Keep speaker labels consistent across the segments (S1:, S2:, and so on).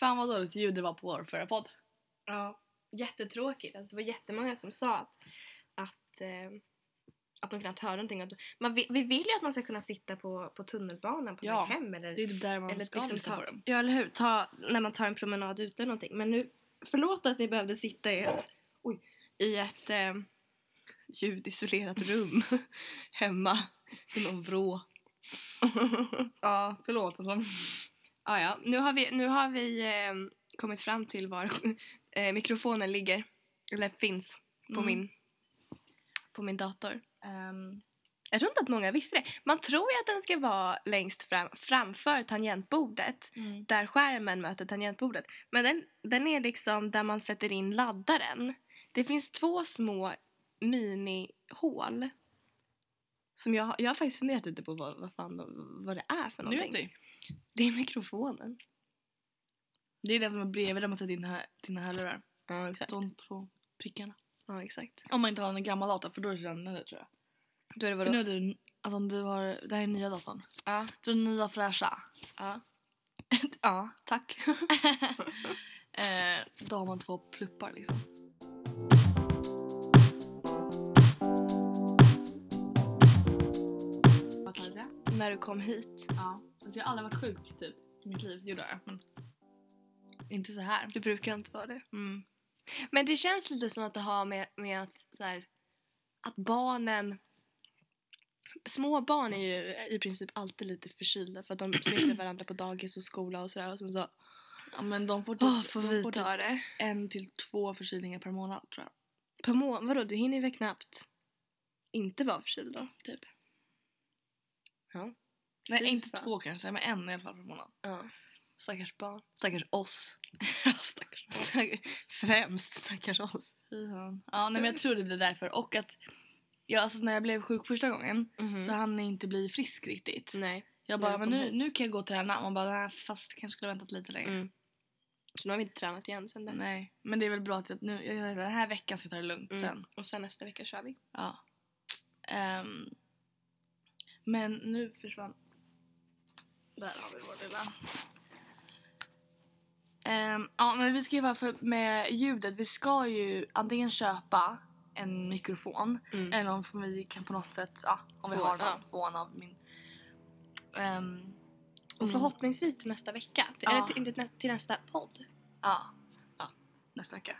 S1: Fan vad dåligt ljud det var på vår förra podd.
S2: Ja, jättetråkigt. Alltså, det var jättemånga som sa att, att, eh, att de knappt hörde någonting. Att- Man, vi, vi vill ju att man ska kunna sitta på, på tunnelbanan på
S1: Ja,
S2: väg hem eller,
S1: Det är ju där man
S2: eller
S1: ska
S2: liksom
S1: lyssna
S2: ta,
S1: på dem.
S2: ja, eller hur? Ta, när man tar en promenad ute eller någonting. Men nu, förlåt att ni behövde sitta i ett, oj, i ett eh, ljudisolerat rum hemma i någon vrå.
S1: Ja, förlåt alltså.
S2: Ah, ja, nu har vi, nu har vi eh, kommit fram till var eh, mikrofonen ligger. Eller finns på,
S1: Mm.
S2: min, på min dator.
S1: Ehm,
S2: Jag tror inte att många visste det. Man tror ju att den ska vara längst fram, framför tangentbordet.
S1: mm.
S2: Där skärmen möter tangentbordet. Men den, den är liksom där man sätter in laddaren. Det finns två små minihål. Som jag, jag har faktiskt funderat lite på vad, vad, fan, de- vad det är för
S1: Nu
S2: någonting.
S1: vet du.
S2: Det är mikrofonen.
S1: Det är det som är bredvid där man sätter in hö- sina hörlurar.
S2: Ja, exakt.
S1: De två prickarna.
S2: Ja, exakt.
S1: Om man inte har en gammal dator för då är det redan nu tror jag.
S2: Då är det
S1: För
S2: vadå?
S1: nu är det, alltså om du har, det här är nya datorn.
S2: Ja,
S1: Du är nya fräscha.
S2: ja.
S1: Ja, tack. eh, då har man två pluppar liksom. Vart hade det?
S2: När du kom hit.
S1: Ja. Alltså, jag har aldrig varit sjuk typ i mitt liv. Jo det har jag men inte så här.
S2: Du brukar inte vara det.
S1: Mm.
S2: Men det känns lite som att det har med, med att, så här, att barnen... Små barn är ju i princip alltid lite förkylda för att de smittar varandra på dagis och skola och sådär. Och sen så
S1: Ja, men de får typ,
S2: åh, får
S1: de
S2: vi
S1: får typ
S2: ta det?
S1: en till två förkylningar per månad tror jag.
S2: På må- vadå, du hinner ju väl knappt inte vara förkyld då?
S1: Typ.
S2: Ja.
S1: Nej
S2: Fy
S1: inte
S2: fan.
S1: två kanske men en i alla fall per månad.
S2: ja.
S1: Stackars barn.
S2: Stackars oss.
S1: Stackars
S2: Främst stackars oss.
S1: Fy fan. Ja nej, men jag tror det blir därför och att jag, alltså, när jag blev sjuk första gången
S2: Mhm.
S1: så hann jag inte bli frisk riktigt.
S2: Nej.
S1: Jag
S2: Mm.
S1: bara,
S2: Nej,
S1: men
S2: som
S1: nu,
S2: hot.
S1: nu kan jag gå och träna. Man bara, nej, fast kanske skulle ha väntat lite längre.
S2: Mm. Så nu har vi inte tränat igen sen dess.
S1: Nej, men det är väl bra att jag, nu, jag, jag- den här veckan ska jag ta det lugnt
S2: Mm.
S1: sen.
S2: Och sen nästa vecka kör vi.
S1: Ja. Ehm, men nu försvann... Där har vi vår lilla... Ehm, ja, men vi ska ju vara för med ljudet. Vi ska ju antingen köpa en mikrofon
S2: Eh,
S1: eller om vi kan på något sätt, ja, om vi
S2: Få-
S1: har någon,
S2: ja.
S1: få en av min... Ehm,
S2: Och
S1: min-
S2: förhoppningsvis till nästa vecka. Till,
S1: Ja.
S2: Eller till, inte nä- till nästa podd.
S1: Ja.
S2: Ja.
S1: Nästa vecka.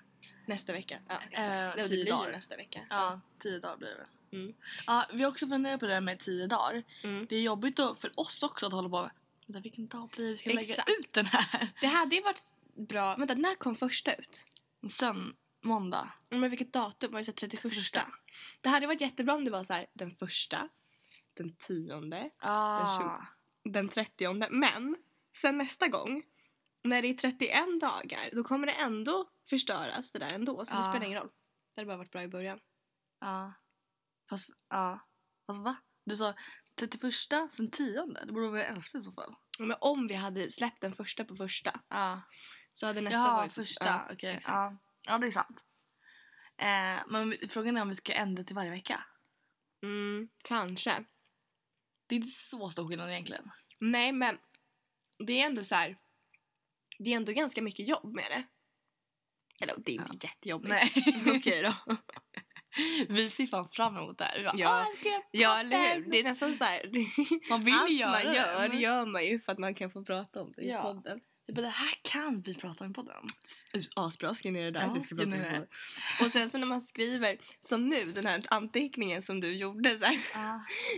S2: Nästa vecka. Ja, exakt.
S1: Eh,
S2: Nej, det
S1: tio
S2: blir
S1: dagar.
S2: ju nästa vecka.
S1: Ja, tio dagar blir det.
S2: Mm.
S1: Ja, vi har också funderat på det här med tio dagar.
S2: Mm.
S1: Det är jobbigt då för oss också att hålla på med "Vänta, vilken dag blir det? Ska vi lägga
S2: Exakt.
S1: ut den här?
S2: Det hade ju varit s- bra. Vänta, när kom första ut?
S1: Sen måndag.
S2: Mm, Men vilket datum? Var det så här 31?
S1: Första.
S2: Det hade varit jättebra om det var så här den första, den tionde,
S1: Ah.
S2: den trettionde. Men sen nästa gång, när det är 31 dagar, då kommer det ändå förstöras det där ändå. Så det
S1: Ja.
S2: spelar ingen roll. Ah. Det hade bara varit bra i början.
S1: Ja. Fast, ja. Fast va? Du sa 31, sen 10. Det borde vara den 11 i så fall.
S2: Ja, Men om vi hade släppt den första på första
S1: Ja.
S2: så hade nästa
S1: Nästa Jaha,
S2: varit...
S1: första.
S2: Ja,
S1: Okej.
S2: exakt.
S1: Ja. ja, det är sant. Eh, men frågan är om vi ska ändra till varje vecka.
S2: Mm, kanske.
S1: Det är inte så stor skillnad egentligen.
S2: Nej, men det är ändå så här... Det är ändå ganska mycket jobb med det. Eller det är inte jättejobbigt. Okej då.
S1: Vi ser fan fram emot det här. Vi bara,
S2: Ja.
S1: "Åh, jag ska göra
S2: Ja, eller hur?
S1: podden."
S2: Det är nästan så här...
S1: Man vill
S2: Allt
S1: göra
S2: man gör
S1: det.
S2: gör man ju för att man kan få prata om det
S1: Ja.
S2: i podden.
S1: Vi bara, det här kan vi prata om i podden.
S2: Asbra, skriv ner det
S1: där. Vi ska prata om det.
S2: Och sen så när man skriver, som nu, den här anteckningen som du gjorde, så här,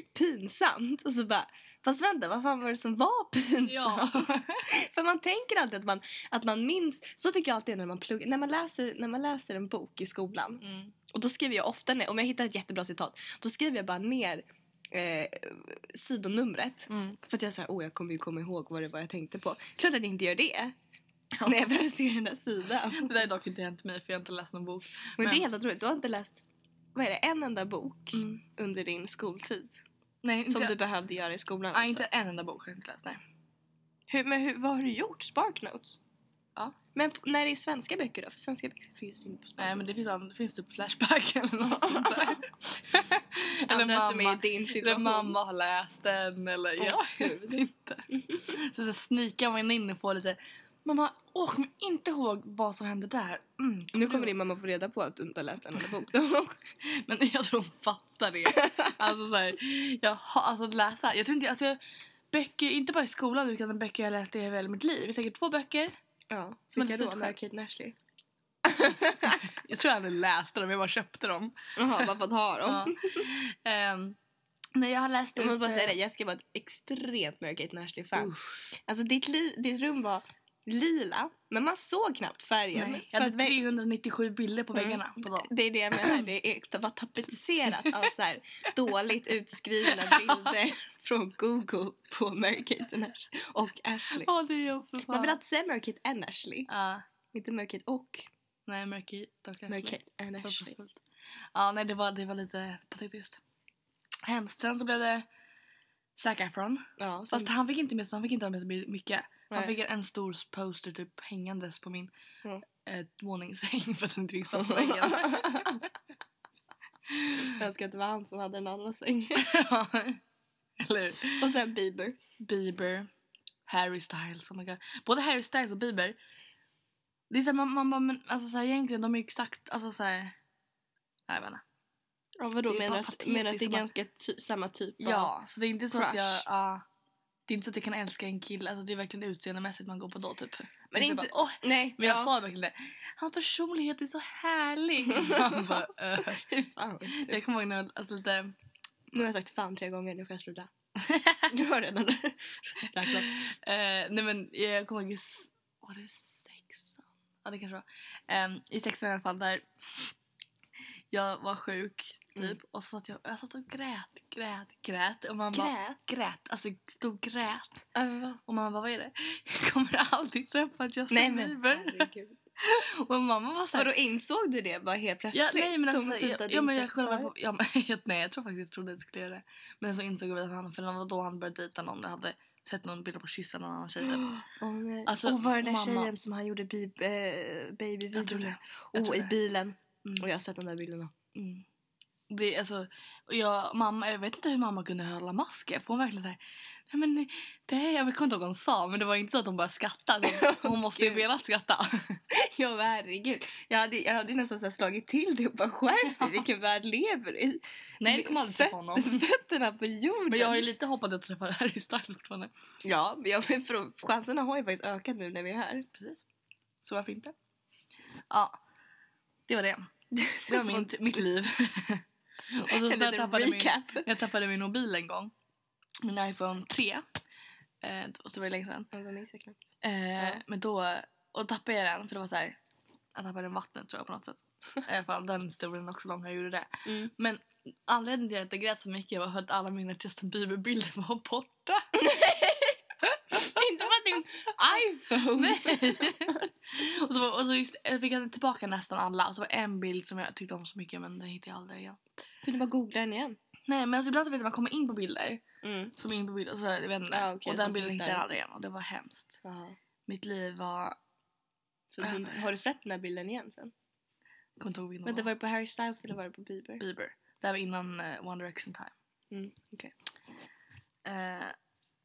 S2: pinsamt. Och så bara, fast vänta, vad fan var det som var pinsamt?
S1: Ja.
S2: För man tänker alltid att man, att man minns, så tycker jag alltid när man pluggar, när man läser, när man läser en bok i skolan.
S1: Mm.
S2: Och då skriver jag ofta ner, om jag hittar ett jättebra citat, då skriver jag bara ner eh, sidonumret.
S1: Mm.
S2: För att jag säger, åh jag kommer ju komma ihåg vad det var jag tänkte på. Klart att jag inte gör det.
S1: Ja.
S2: När jag väl ser den där sidan.
S1: Det där har dock inte hänt mig för jag har inte läst någon bok.
S2: Men, det
S1: Men-
S2: är helt otroligt, du har inte läst, vad är det, en enda bok under din skoltid?
S1: Mm. Nej, inte,
S2: Som du behövde göra i skolan alltså?
S1: ja, inte en enda bok har jag inte läst. Nej.
S2: Hur, men hur, vad har du gjort? Spark notes?
S1: Ja.
S2: Men p- när det är svenska böcker då? För svenska böcker finns ju inte på spark
S1: Nej men det finns, an- det finns typ Flashback eller något sånt där. eller,
S2: Andra
S1: mamma,
S2: som är i din
S1: eller
S2: situation.
S1: mamma har läst den eller
S2: Åh,
S1: jag
S2: gud.
S1: vet inte. Så, så snikar man in och får lite Mamma, åh, kom inte ihåg vad som hände där. Mm,
S2: Nu kommer din mamma få reda på att du inte har läst en enda bok.
S1: Men jag tror hon fattar det. alltså så här, jag har, alltså att läsa. Jag tror inte, alltså jag, böcker, inte bara i skolan utan böcker jag läst i hela mitt liv. Det är säkert två böcker.
S2: ja,
S1: Som
S2: vilka
S1: hade
S2: då?
S1: skrivit
S2: Med
S1: själv.
S2: Kate Nashley?
S1: Jag tror jag aldrig läste dem, jag bara köpte dem.
S2: Jaha, bara för att ha
S1: Ja.
S2: dem.
S1: Ehm, nej, jag har läst
S2: Jag måste
S1: ut,
S2: bara
S1: eh,
S2: säga det, Jessica var ett extremt Mary Kate Nashley-fan.
S1: usch,
S2: Alltså ditt, li- ditt rum var lila, men man såg knappt färgen.
S1: nej.
S2: för
S1: Jag
S2: att
S1: hade
S2: vä-
S1: 397 bilder på
S2: Mm.
S1: väggarna på dem.
S2: det är det jag menar, det är, det var tapetserat av så här dåligt utskrivna bilder från Google på Mary Kate och Nash- och Ashley.
S1: Ja, det är jag för
S2: Man
S1: fan.
S2: vill alltid säga Mary Kate and Ashley,
S1: Ja,
S2: inte Mary Kate och
S1: nej, Mörky.
S2: Mary Kate and
S1: Det var så
S2: Ashley.
S1: fult. Ja, nej det var, det var lite patetiskt. Hemskt. Sen så blev det Zac Efron.
S2: Ja, som,
S1: Fast han fick inte med så han fick inte vara med så mycket. Han
S2: Mm. Nej.
S1: fick en stor poster typ hängandes på min
S2: Ja.
S1: eh, våningssäng för att han inte fick plats på väggen.
S2: jag önskar att det var han som hade den andra sängen.
S1: Ja. Eller hur?
S2: Och sen Bieber.
S1: Bieber, Harry Styles, oh my god. Både Harry Styles och Bieber. Det är såhär, man, man bara, men alltså såhär egentligen de är ju exakt, alltså såhär. Jag vet inte.
S2: Ja, vadå?
S1: Det är
S2: Menar
S1: bara
S2: du att,
S1: patetiskt
S2: menar du att det är
S1: som att-
S2: ganska ty- samma typ av...
S1: Ja, så det är inte så att jag...
S2: crush.
S1: ja. det är inte så att jag kan älska en kille. Alltså, det är verkligen utseendemässigt man går på då, typ.
S2: Men
S1: Men,
S2: det är
S1: inte,
S2: inte-
S1: bara, åh,
S2: Nej,
S1: men jag
S2: ja.
S1: sa verkligen det. Hans personlighet är så härlig. Man bara, eh.
S2: Fy fan.
S1: jag kommer ihåg när jag alltså, lite...
S2: Nu har jag sagt fan tre gånger, nu får jag sluta. Du har redan räknat.
S1: Eh, nej, men jag kommer ihåg... i s- Var det sexan? Ja, det kanske var. Em, I sexan i alla fall, där jag var sjuk, typ.
S2: Mm.
S1: Och så satt jag, jag satt och grät, grät, grät. Och man bara...
S2: Grät?
S1: Grät. Alltså, stod grät.
S2: Över vad?
S1: Och mamma bara, vad är det? Jag kommer aldrig träffa Justin Bieber. Och mamma var så här,
S2: Och då insåg du det bara helt plötsligt?
S1: ja, nej men
S2: Som typ
S1: alltså,
S2: att
S1: jag,
S2: du inte hade
S1: ja, men jag
S2: insett
S1: kollade
S2: förut?
S1: på, ja, men, nej jag tror faktiskt jag trodde att jag skulle göra det. Men så insåg jag att han, för det var då han började dejta någon, jag hade sett någon bild på att kyssa någon annan tjej typ.
S2: Åh nej.
S1: Alltså,
S2: och var den där
S1: mamma-
S2: tjejen som han gjorde bi- eh,
S1: Jag
S2: babyvideon
S1: tror
S2: med?
S1: det. Jag tror
S2: Åh, i
S1: det.
S2: bilen.
S1: Mm.
S2: Och jag har sett de där bilderna.
S1: Mm. Det, är alltså, och jag, mamma, jag vet inte hur mamma kunde hålla masken. För hon verkligen så här, nej men nej, det här, jag kommer inte ihåg vad hon sa men det var inte så att hon bara skrattade. Hon, hon måste ju
S2: Gud.
S1: velat skratta.
S2: Ja, men herregud. Jag hade, jag hade ju nästan så här slagit till det och bara skärp dig, vilken värld lever du i?
S1: nej det kommer aldrig träffa
S2: Föt-
S1: honom.
S2: Fötterna på jorden.
S1: Men jag har ju lite hoppats att träffa Harry Styles fortfarande.
S2: Ja, men jag, för de- chanserna har ju faktiskt ökat nu när vi är här.
S1: Precis. Så varför inte? Ja, det var det. Det var min, mitt liv. Och så
S2: En
S1: när jag
S2: liten
S1: tappade, min,
S2: recap.
S1: jag tappade min mobil en gång. Min iPhone 3. Eh, och så var det länge sedan.
S2: Ja, de minns jag knappt.
S1: Eh,
S2: Ja.
S1: Men då och tappade jag den för det var så här. Jag tappade den i vattnet tror jag på något sätt. I alla fall den historien är också lång jag gjorde det.
S2: Mm.
S1: Men anledningen till att jag inte grät så mycket var för att alla mina Justin Bieber-bilder var borta.
S2: Inte för att din iPhone...
S1: Nej. och så, och så just, jag fick jag tillbaka nästan alla. Och så var det en bild som jag tyckte om så mycket men den hittade jag aldrig igen.
S2: Kunde bara googla den igen.
S1: Nej men alltså, ibland så vet jag att man kommer in på bilder.
S2: Mm.
S1: Som in på bilder och så jag vet inte.
S2: Ja, okej,
S1: och
S2: som
S1: den bilden
S2: sitter.
S1: hittade jag aldrig igen och det var hemskt. Mitt liv var...
S2: För du,
S1: Över.
S2: har du sett den här bilden igen sen?
S1: Jag kommer inte ihåg vilken
S2: Men det
S1: det var.
S2: var det på Harry Styles eller var det på Bieber?
S1: Bieber. Det här var innan eh, One Direction time.
S2: Mm. okej.
S1: Eh,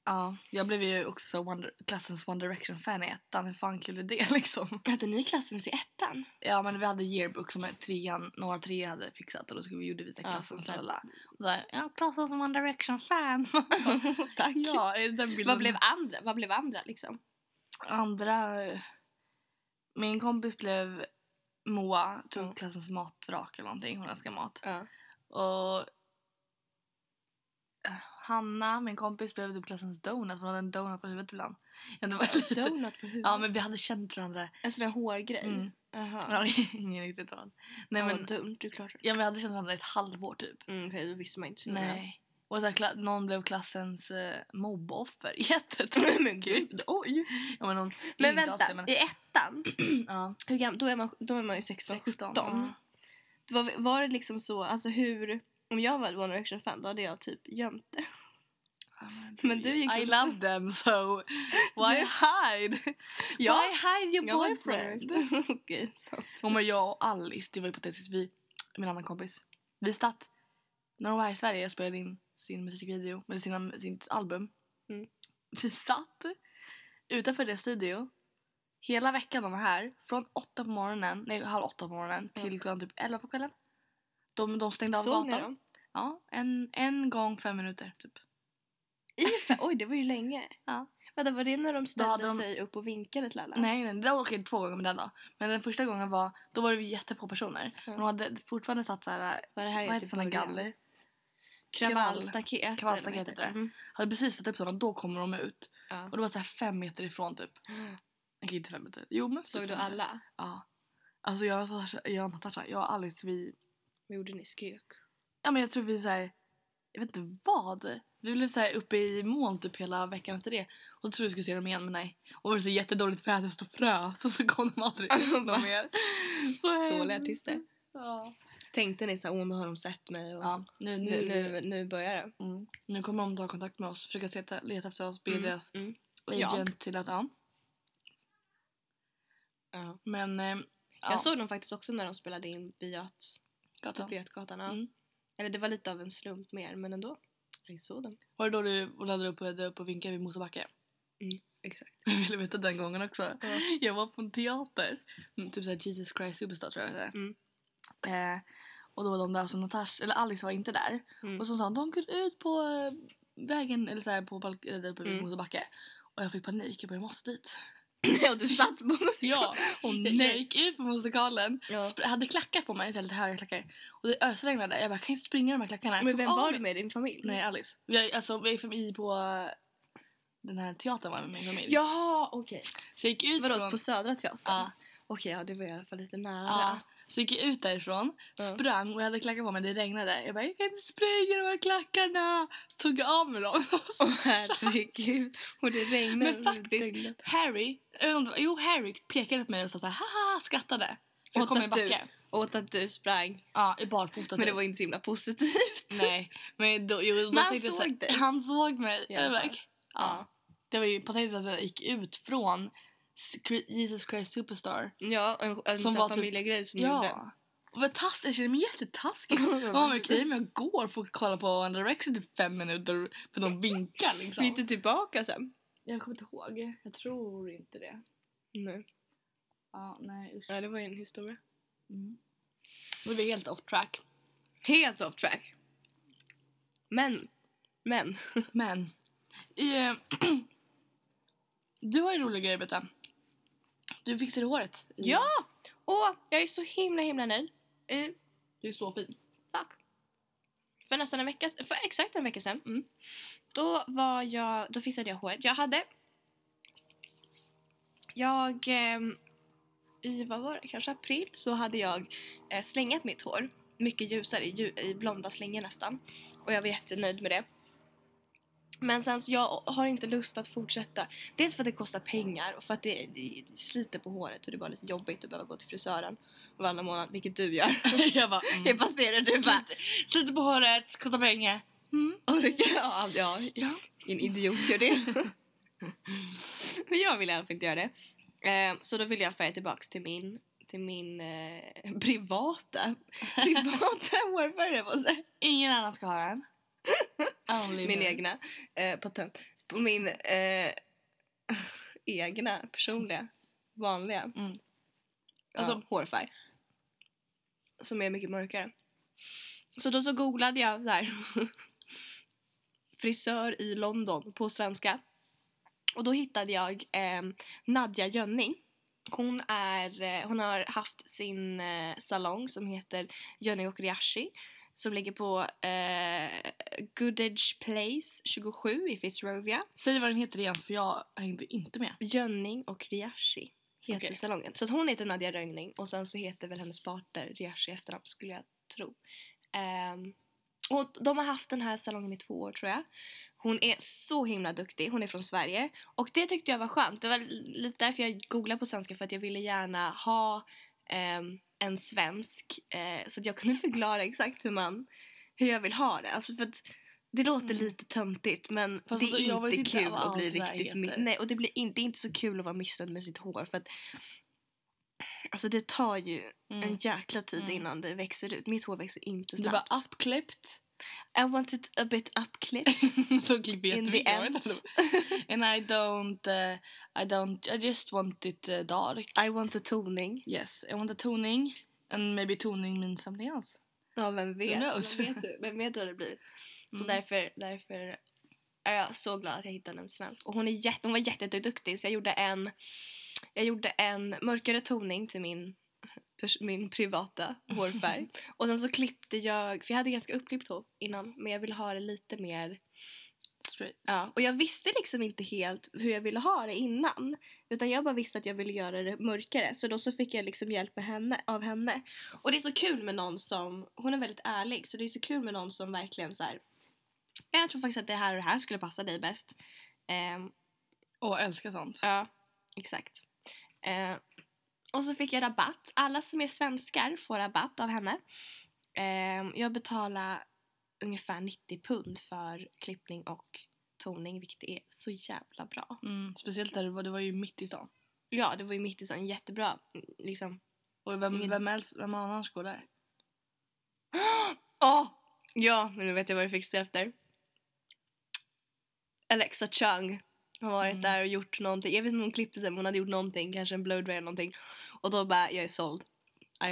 S1: ja, jag blev ju också One, klassens One Direction-fan i ettan. Hur fan kul är det liksom?
S2: Hade ni klassens i ettan?
S1: Ja men vi hade yearbook som trean, några treor hade fixat och då skulle vi, gjorde vi så här
S2: Ja,
S1: klassen
S2: såklart.
S1: snälla. Och där, ja klassen som One Direction fan.
S2: Tack.
S1: ja, är det den bilden?
S2: Vad blev andra? Vad blev andra liksom?
S1: andra? eh, Min kompis blev Moa, tog
S2: Ja.
S1: klassens matvrak eller någonting, hon älskar mat.
S2: Ja.
S1: Och eh, Hanna, min kompis, blev typ klassens donut, hon hade en donut på huvudet ibland. Ja, det var lite...
S2: Donut på huvudet?
S1: Ja men vi hade känt varandra.
S2: En sån där hårgrej?
S1: Mm.
S2: Jaha.
S1: Ja, ingen riktigt annan. Nej
S2: Ja,
S1: men,
S2: dumt, du är klart.
S1: ja, men vi hade känt varandra i ett halvår typ.
S2: Mm, okej, då visste man inte. så noga.
S1: Nej. Och så här, kla- någon blev klassens eh, mobboffer.
S2: men
S1: Jättetråkigt.
S2: gud, oj.
S1: ja, men någon,
S2: Men
S1: inte
S2: vänta,
S1: ofta, men-
S2: i ettan,
S1: ja,
S2: hur gammal, då, är man, då är man ju 16,
S1: 16.
S2: 17.
S1: Ja.
S2: Det Var, var det liksom så, alltså hur, om jag var ett One Direction-fan då hade jag typ gömt det.
S1: Ja,
S2: Men du gick
S1: I
S2: upp-
S1: love them so why
S2: Du-
S1: hide?
S2: Ja,
S1: why hide your
S2: Jag var ett
S1: boyfriend?
S2: One Direction. Okej, sant.
S1: Ja, men jag och Alice, det var ju patetiskt. Vi, min annan kompis, vi satt när hon var här i Sverige och spelade in sin musikvideo, eller sina, sitt album.
S2: Mm.
S1: Vi satt utanför deras studio Hela veckan de var här, från åtta på morgonen, nej halv åtta på morgonen till klockan typ elva på kvällen. De, de stängde av
S2: Såg ni
S1: gatan.
S2: dem?
S1: Ja, en, en gång fem minuter typ.
S2: I fe- Oj, det var ju länge.
S1: Ja.
S2: Vänta, var det när de
S1: hade
S2: ställde
S1: de-
S2: sig upp och vinkade till alla?
S1: Nej, nej, det var okej två gånger med den då. Men den första gången var, då var det ju jättefå personer.
S2: Ja.
S1: De hade fortfarande satt så här,
S2: Var det här typ
S1: vad heter såna galler?
S2: Kravallstaket.
S1: Kravallstaket heter det. Hade precis satt upp sådana, då kommer de ut.
S2: Ja.
S1: Och det var så här fem meter ifrån typ. Okej, inte fem meter. Jo, men
S2: Såg
S1: typ
S2: du
S1: fem meter.
S2: alla?
S1: Ja. Alltså jag och Natasha, jag och, Natasha, jag och Alice, vi...
S2: Vad gjorde ni? Skrek?
S1: Ja men jag tror vi så här, jag vet inte vad. Vi blev så här uppe i moln typ hela veckan efter det. Och då trodde vi skulle se dem igen men nej. Och det var så jättedåligt väder så frös och så kom de aldrig
S2: Va?
S1: någon mer. Så hemskt.
S2: Dåliga artister.
S1: Ja.
S2: Tänkte ni så här, åh nu har de sett mig och
S1: ja nu, nu,
S2: nu,
S1: nu.
S2: nu, nu börjar det.
S1: Mm. nu kommer de ta kontakt med oss, försöka seta, leta efter oss, be
S2: Mm,
S1: deras
S2: mm. Ja.
S1: agent till att ja.
S2: Ja.
S1: Men eh, ja,
S2: Jag såg dem faktiskt också när de spelade in Biat,
S1: gatan.
S2: på Götgatan. ja.
S1: Mm.
S2: Eller det var lite av en slump mer, men ändå. Jag såg dem.
S1: Var det då du laddade upp, och- upp och vinkade vid Mosebacke?
S2: Mm, Exakt.
S1: Jag ville veta den gången också.
S2: Ja.
S1: Jag var på en teater. Mm, Typ såhär Jesus Christ Superstar tror jag det heter.
S2: Mm.
S1: Eh, och då var de där som Natasha, eller Alice var inte där.
S2: Mm.
S1: Och så sa hon, de går ut på eh, vägen, eller såhär på balk- eller uppe vid
S2: Mm.
S1: Mosebacke. Och jag fick panik, jag bara jag måste dit.
S2: och du satt på musik.
S1: Ja,
S2: och
S1: jag gick ut på musikalen,
S2: Ja.
S1: sp- hade klackar på mig, så här lite höga klackar. Och det ösregnade, jag bara kan jag inte springa i de här klackarna. Jag
S2: Men
S1: tog
S2: vem
S1: av
S2: var
S1: mig-
S2: du med? Din familj?
S1: Nej Alice. Jag, alltså vi är i på eh, den här teatern var jag med min familj.
S2: Jaha, okej.
S1: Så jag gick ut
S2: Vadå,
S1: från...
S2: på Södra Teatern?
S1: Ja.
S2: Okej, ja, det var i alla fall lite nära.
S1: Ja. Så gick jag ut därifrån,
S2: Ja.
S1: sprang och jag hade klackar på mig, det regnade. Jag bara, jag kan inte springa i de här klackarna! Så tog jag av mig dem.
S2: Åh herregud. Och det regnade.
S1: Men faktiskt- Harry, jag vet inte om det var- jo Harry pekade på mig och sa såhär, haha, skrattade. Och så
S2: Åt
S1: kom jag i
S2: att du-
S1: backen.
S2: Åt att du sprang.
S1: Ja, i barfota
S2: Men det
S1: typ.
S2: var inte så himla positivt.
S1: Nej, men då, jo, då
S2: Men han
S1: tänkte jag så här-
S2: såg dig.
S1: Han såg mig.
S2: I alla
S1: Jag bara,
S2: fall.
S1: "Okej." ja. Det var ju patetiskt att jag gick ut från S- Cri- Jesus Christ Superstar.
S2: Ja, en, en
S1: Som
S2: sån
S1: var typ-
S2: familjegrej som gjorde.
S1: Ja. Och Mm, vad taskigt, jag känner mig jättetaskig. Ja men okej, men jag går för att kolla på One Direction i typ fem minuter för de vinkar liksom.
S2: Gick du tillbaka sen?
S1: Jag kommer inte ihåg. Jag tror inte det.
S2: Nej.
S1: Ja, nej usch.
S2: Ja, det var ju en historia.
S1: Mm. Nu är vi helt off track.
S2: Helt off track. Men, men.
S1: Men. I, eh, du har ju roliga grejer Betta. Du fixade håret. i-
S2: Ja! Åh, jag är så himla himla nöjd. Eh,
S1: Du är så fin.
S2: Tack. För nästan en vecka, för exakt en vecka sedan.
S1: Mm.
S2: Då var jag, då fixade jag håret. Jag hade, jag, ehm, i vad var det, kanske april så hade jag eh, slängat mitt hår. Mycket ljusare, i, lju- i blonda slingor nästan. Och jag var jättenöjd med det. Men sen så jag har inte lust att fortsätta. Dels för att det kostar pengar och för att det, det sliter på håret och det är bara lite jobbigt att behöva gå till frisören varannan månad, vilket du gör.
S1: jag bara, mm.
S2: Jag passerar du bara
S1: Sliter på håret, kostar pengar. Mm.
S2: Orkar jag? Ja,
S1: Ja.
S2: en idiot gör det. Men jag vill i alla fall inte göra det. Eh, så då vill jag färga tillbaks till min, till min eh, privata, privata hårfärg höll jag på att säga.
S1: Ingen annan ska ha den. Only
S2: Min
S1: me.
S2: egna eh, patent. På min eh, egna personliga, vanliga
S1: Mm.
S2: alltså,
S1: Ja.
S2: hårfärg. Som är mycket mörkare. Så då så googlade jag så här. frisör i London på svenska. Och då hittade jag eh, Nadja Jönning. Hon, är, eh, hon har haft sin eh, salong som heter Jönning och Riashi som ligger på eh, Goodage Place 27 i Fitzrovia.
S1: Säg vad den heter igen för jag hängde inte med.
S2: Jönning och Riashi heter
S1: Okej.
S2: salongen. Så att hon heter Nadja Rögning och sen så heter väl hennes partner Riashi i efternamn skulle jag tro. Ehm, och de har haft den här salongen i två år tror jag. Hon är så himla duktig. Hon är från Sverige. Och det tyckte jag var skönt. Det var lite därför jag googlade på svenska för att jag ville gärna ha ehm, en svensk eh, så att jag kunde förklara exakt hur man hur jag vill ha det. Alltså för att det låter
S1: Mm.
S2: lite töntigt men
S1: Fast
S2: det
S1: vadå, jag
S2: är
S1: vet
S2: inte
S1: inte
S2: kul
S1: vad
S2: att bli
S1: allt typ. det där
S2: riktigt...
S1: heter.
S2: mi- Nej, och det, blir in, det är inte så kul att vara missnöjd med sitt hår för att Alltså det tar ju en
S1: Mm.
S2: jäkla tid
S1: Mm.
S2: innan det växer ut. Mitt hår växer inte
S1: Du
S2: snabbt.
S1: var uppklippt.
S2: I want it a bit upclipped
S1: Då klipper jag
S2: in the
S1: jättemycket. av det.
S2: ends.
S1: And I don't, eh, I don't, I just want it eh, dark.
S2: I want a toning.
S1: Yes, I want a toning. And maybe toning means something else.
S2: Ja, vem vet?
S1: Who knows?
S2: Vem vet, hur- vem vet vad det blir? Så
S1: Mm.
S2: därför, därför är jag så glad att jag hittade en svensk. Och hon, är jätte, hon var jätteduktig så jag gjorde en, jag gjorde en mörkare toning till min, pers- min privata hårfärg. och sen så klippte jag, för jag hade ganska uppklippt hår innan, men jag ville ha det lite mer
S1: Straight.
S2: Ja, och jag visste liksom inte helt hur jag ville ha det innan. Utan jag bara visste att jag ville göra det mörkare. Så då så fick jag liksom hjälp med henne, av henne. Och det är så kul med någon som, hon är väldigt ärlig. Så det är så kul med någon som verkligen så här. "Ja, Jag tror faktiskt att det här och det här skulle passa dig bäst. Ehm,
S1: Åh, jag älskar sånt.
S2: ja, exakt. Ehm, och så fick jag rabatt. Alla som är svenskar får rabatt av henne. Ehm, jag betalar ungefär 90 pund för klippning och toning, vilket är så jävla bra.
S1: Mm, speciellt där du var, du var ju mitt i stan.
S2: Ja, det var ju mitt i sån jättebra liksom.
S1: Och vem,
S2: Ingen-
S1: vem, else, vem annars går där?
S2: Åh! Ja, men nu vet jag vad du fick se efter. Alexa Chung har varit
S1: Mm.
S2: där och gjort någonting. Jag vet inte om hon klippte sig men hon hade gjort någonting, kanske en blowdry eller någonting. Och då bara, jag är såld. I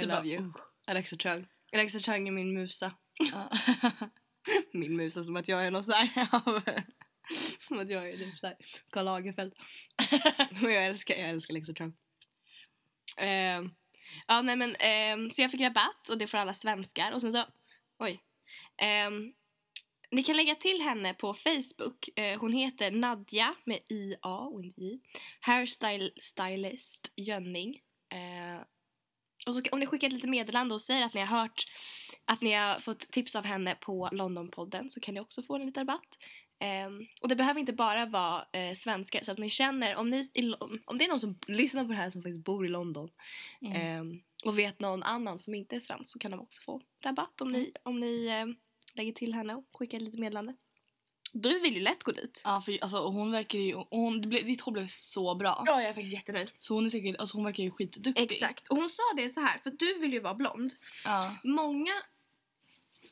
S1: Du
S2: love
S1: bara,
S2: you.
S1: "Oh."
S2: Alexa Chung. Alexa Chung är min musa.
S1: Ja.
S2: Min musa som att jag är någon sån här. av- som att jag är typ såhär Karl Lagerfeld. Men jag älskar, jag älskar Alexa Chung. Ehm, ja nej men ehm, så jag fick rabatt och det får alla svenskar och sen så, oj. Ehm, ni kan lägga till henne på Facebook. Eh, hon heter Nadja med I-A och inte I. Hairstylist Jönning. Eh, och så, om ni skickar ett litet meddelande och säger att ni har hört att ni har fått tips av henne på Londonpodden så kan ni också få en liten rabatt. Ehm, och det behöver inte bara vara eh, svenskar så att ni känner om, ni, i- om det är någon som lyssnar på det här som faktiskt bor i London
S1: Mm.
S2: ehm, och vet någon annan som inte är svensk så kan de också få rabatt om
S1: Mm.
S2: ni, om ni ehm, lägger till henne och skickar ett litet meddelande. Du vill ju lätt gå dit.
S1: Ja, för alltså, hon verkar ju... Hon, det blev, ditt hår blev så bra.
S2: Ja, jag är faktiskt jättenöjd.
S1: Så hon är säkert... Alltså, hon verkar ju skitduktig.
S2: Exakt. Och hon sa det så här, för du vill ju vara blond.
S1: Ja.
S2: Många,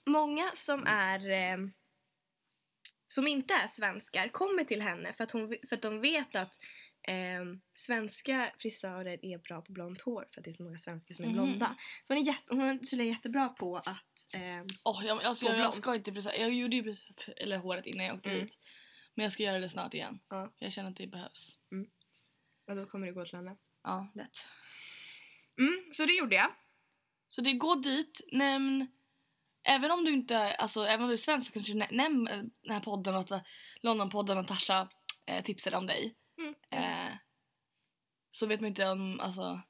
S2: många som är eh, som inte är svenskar kommer till henne för att, hon, för att de vet att eh, svenska frisörer är bra på blont hår för att det är så många svenskar som är
S1: Mhm.
S2: blonda. Så hon är, jätte, hon är tydligen jättebra på att... Eh,
S1: Oh, jag, alltså, jag,
S2: Blond.
S1: jag ska inte frisör. Jag gjorde ju frisör, eller håret innan jag åkte
S2: Mm.
S1: hit. Men jag ska göra det snart igen.
S2: Ja.
S1: Jag känner att det behövs.
S2: och då kommer det gå till henne.
S1: Ja, lätt.
S2: Mm, så det gjorde jag.
S1: Så det går dit, nämn... Även om du inte alltså, även om du är svensk så kanske du nä- nämn eh, den här podden och att eh, Londonpodden och Tasha eh, tipsade om dig.
S2: Mm.
S1: Eh, så vet man inte om... Alltså,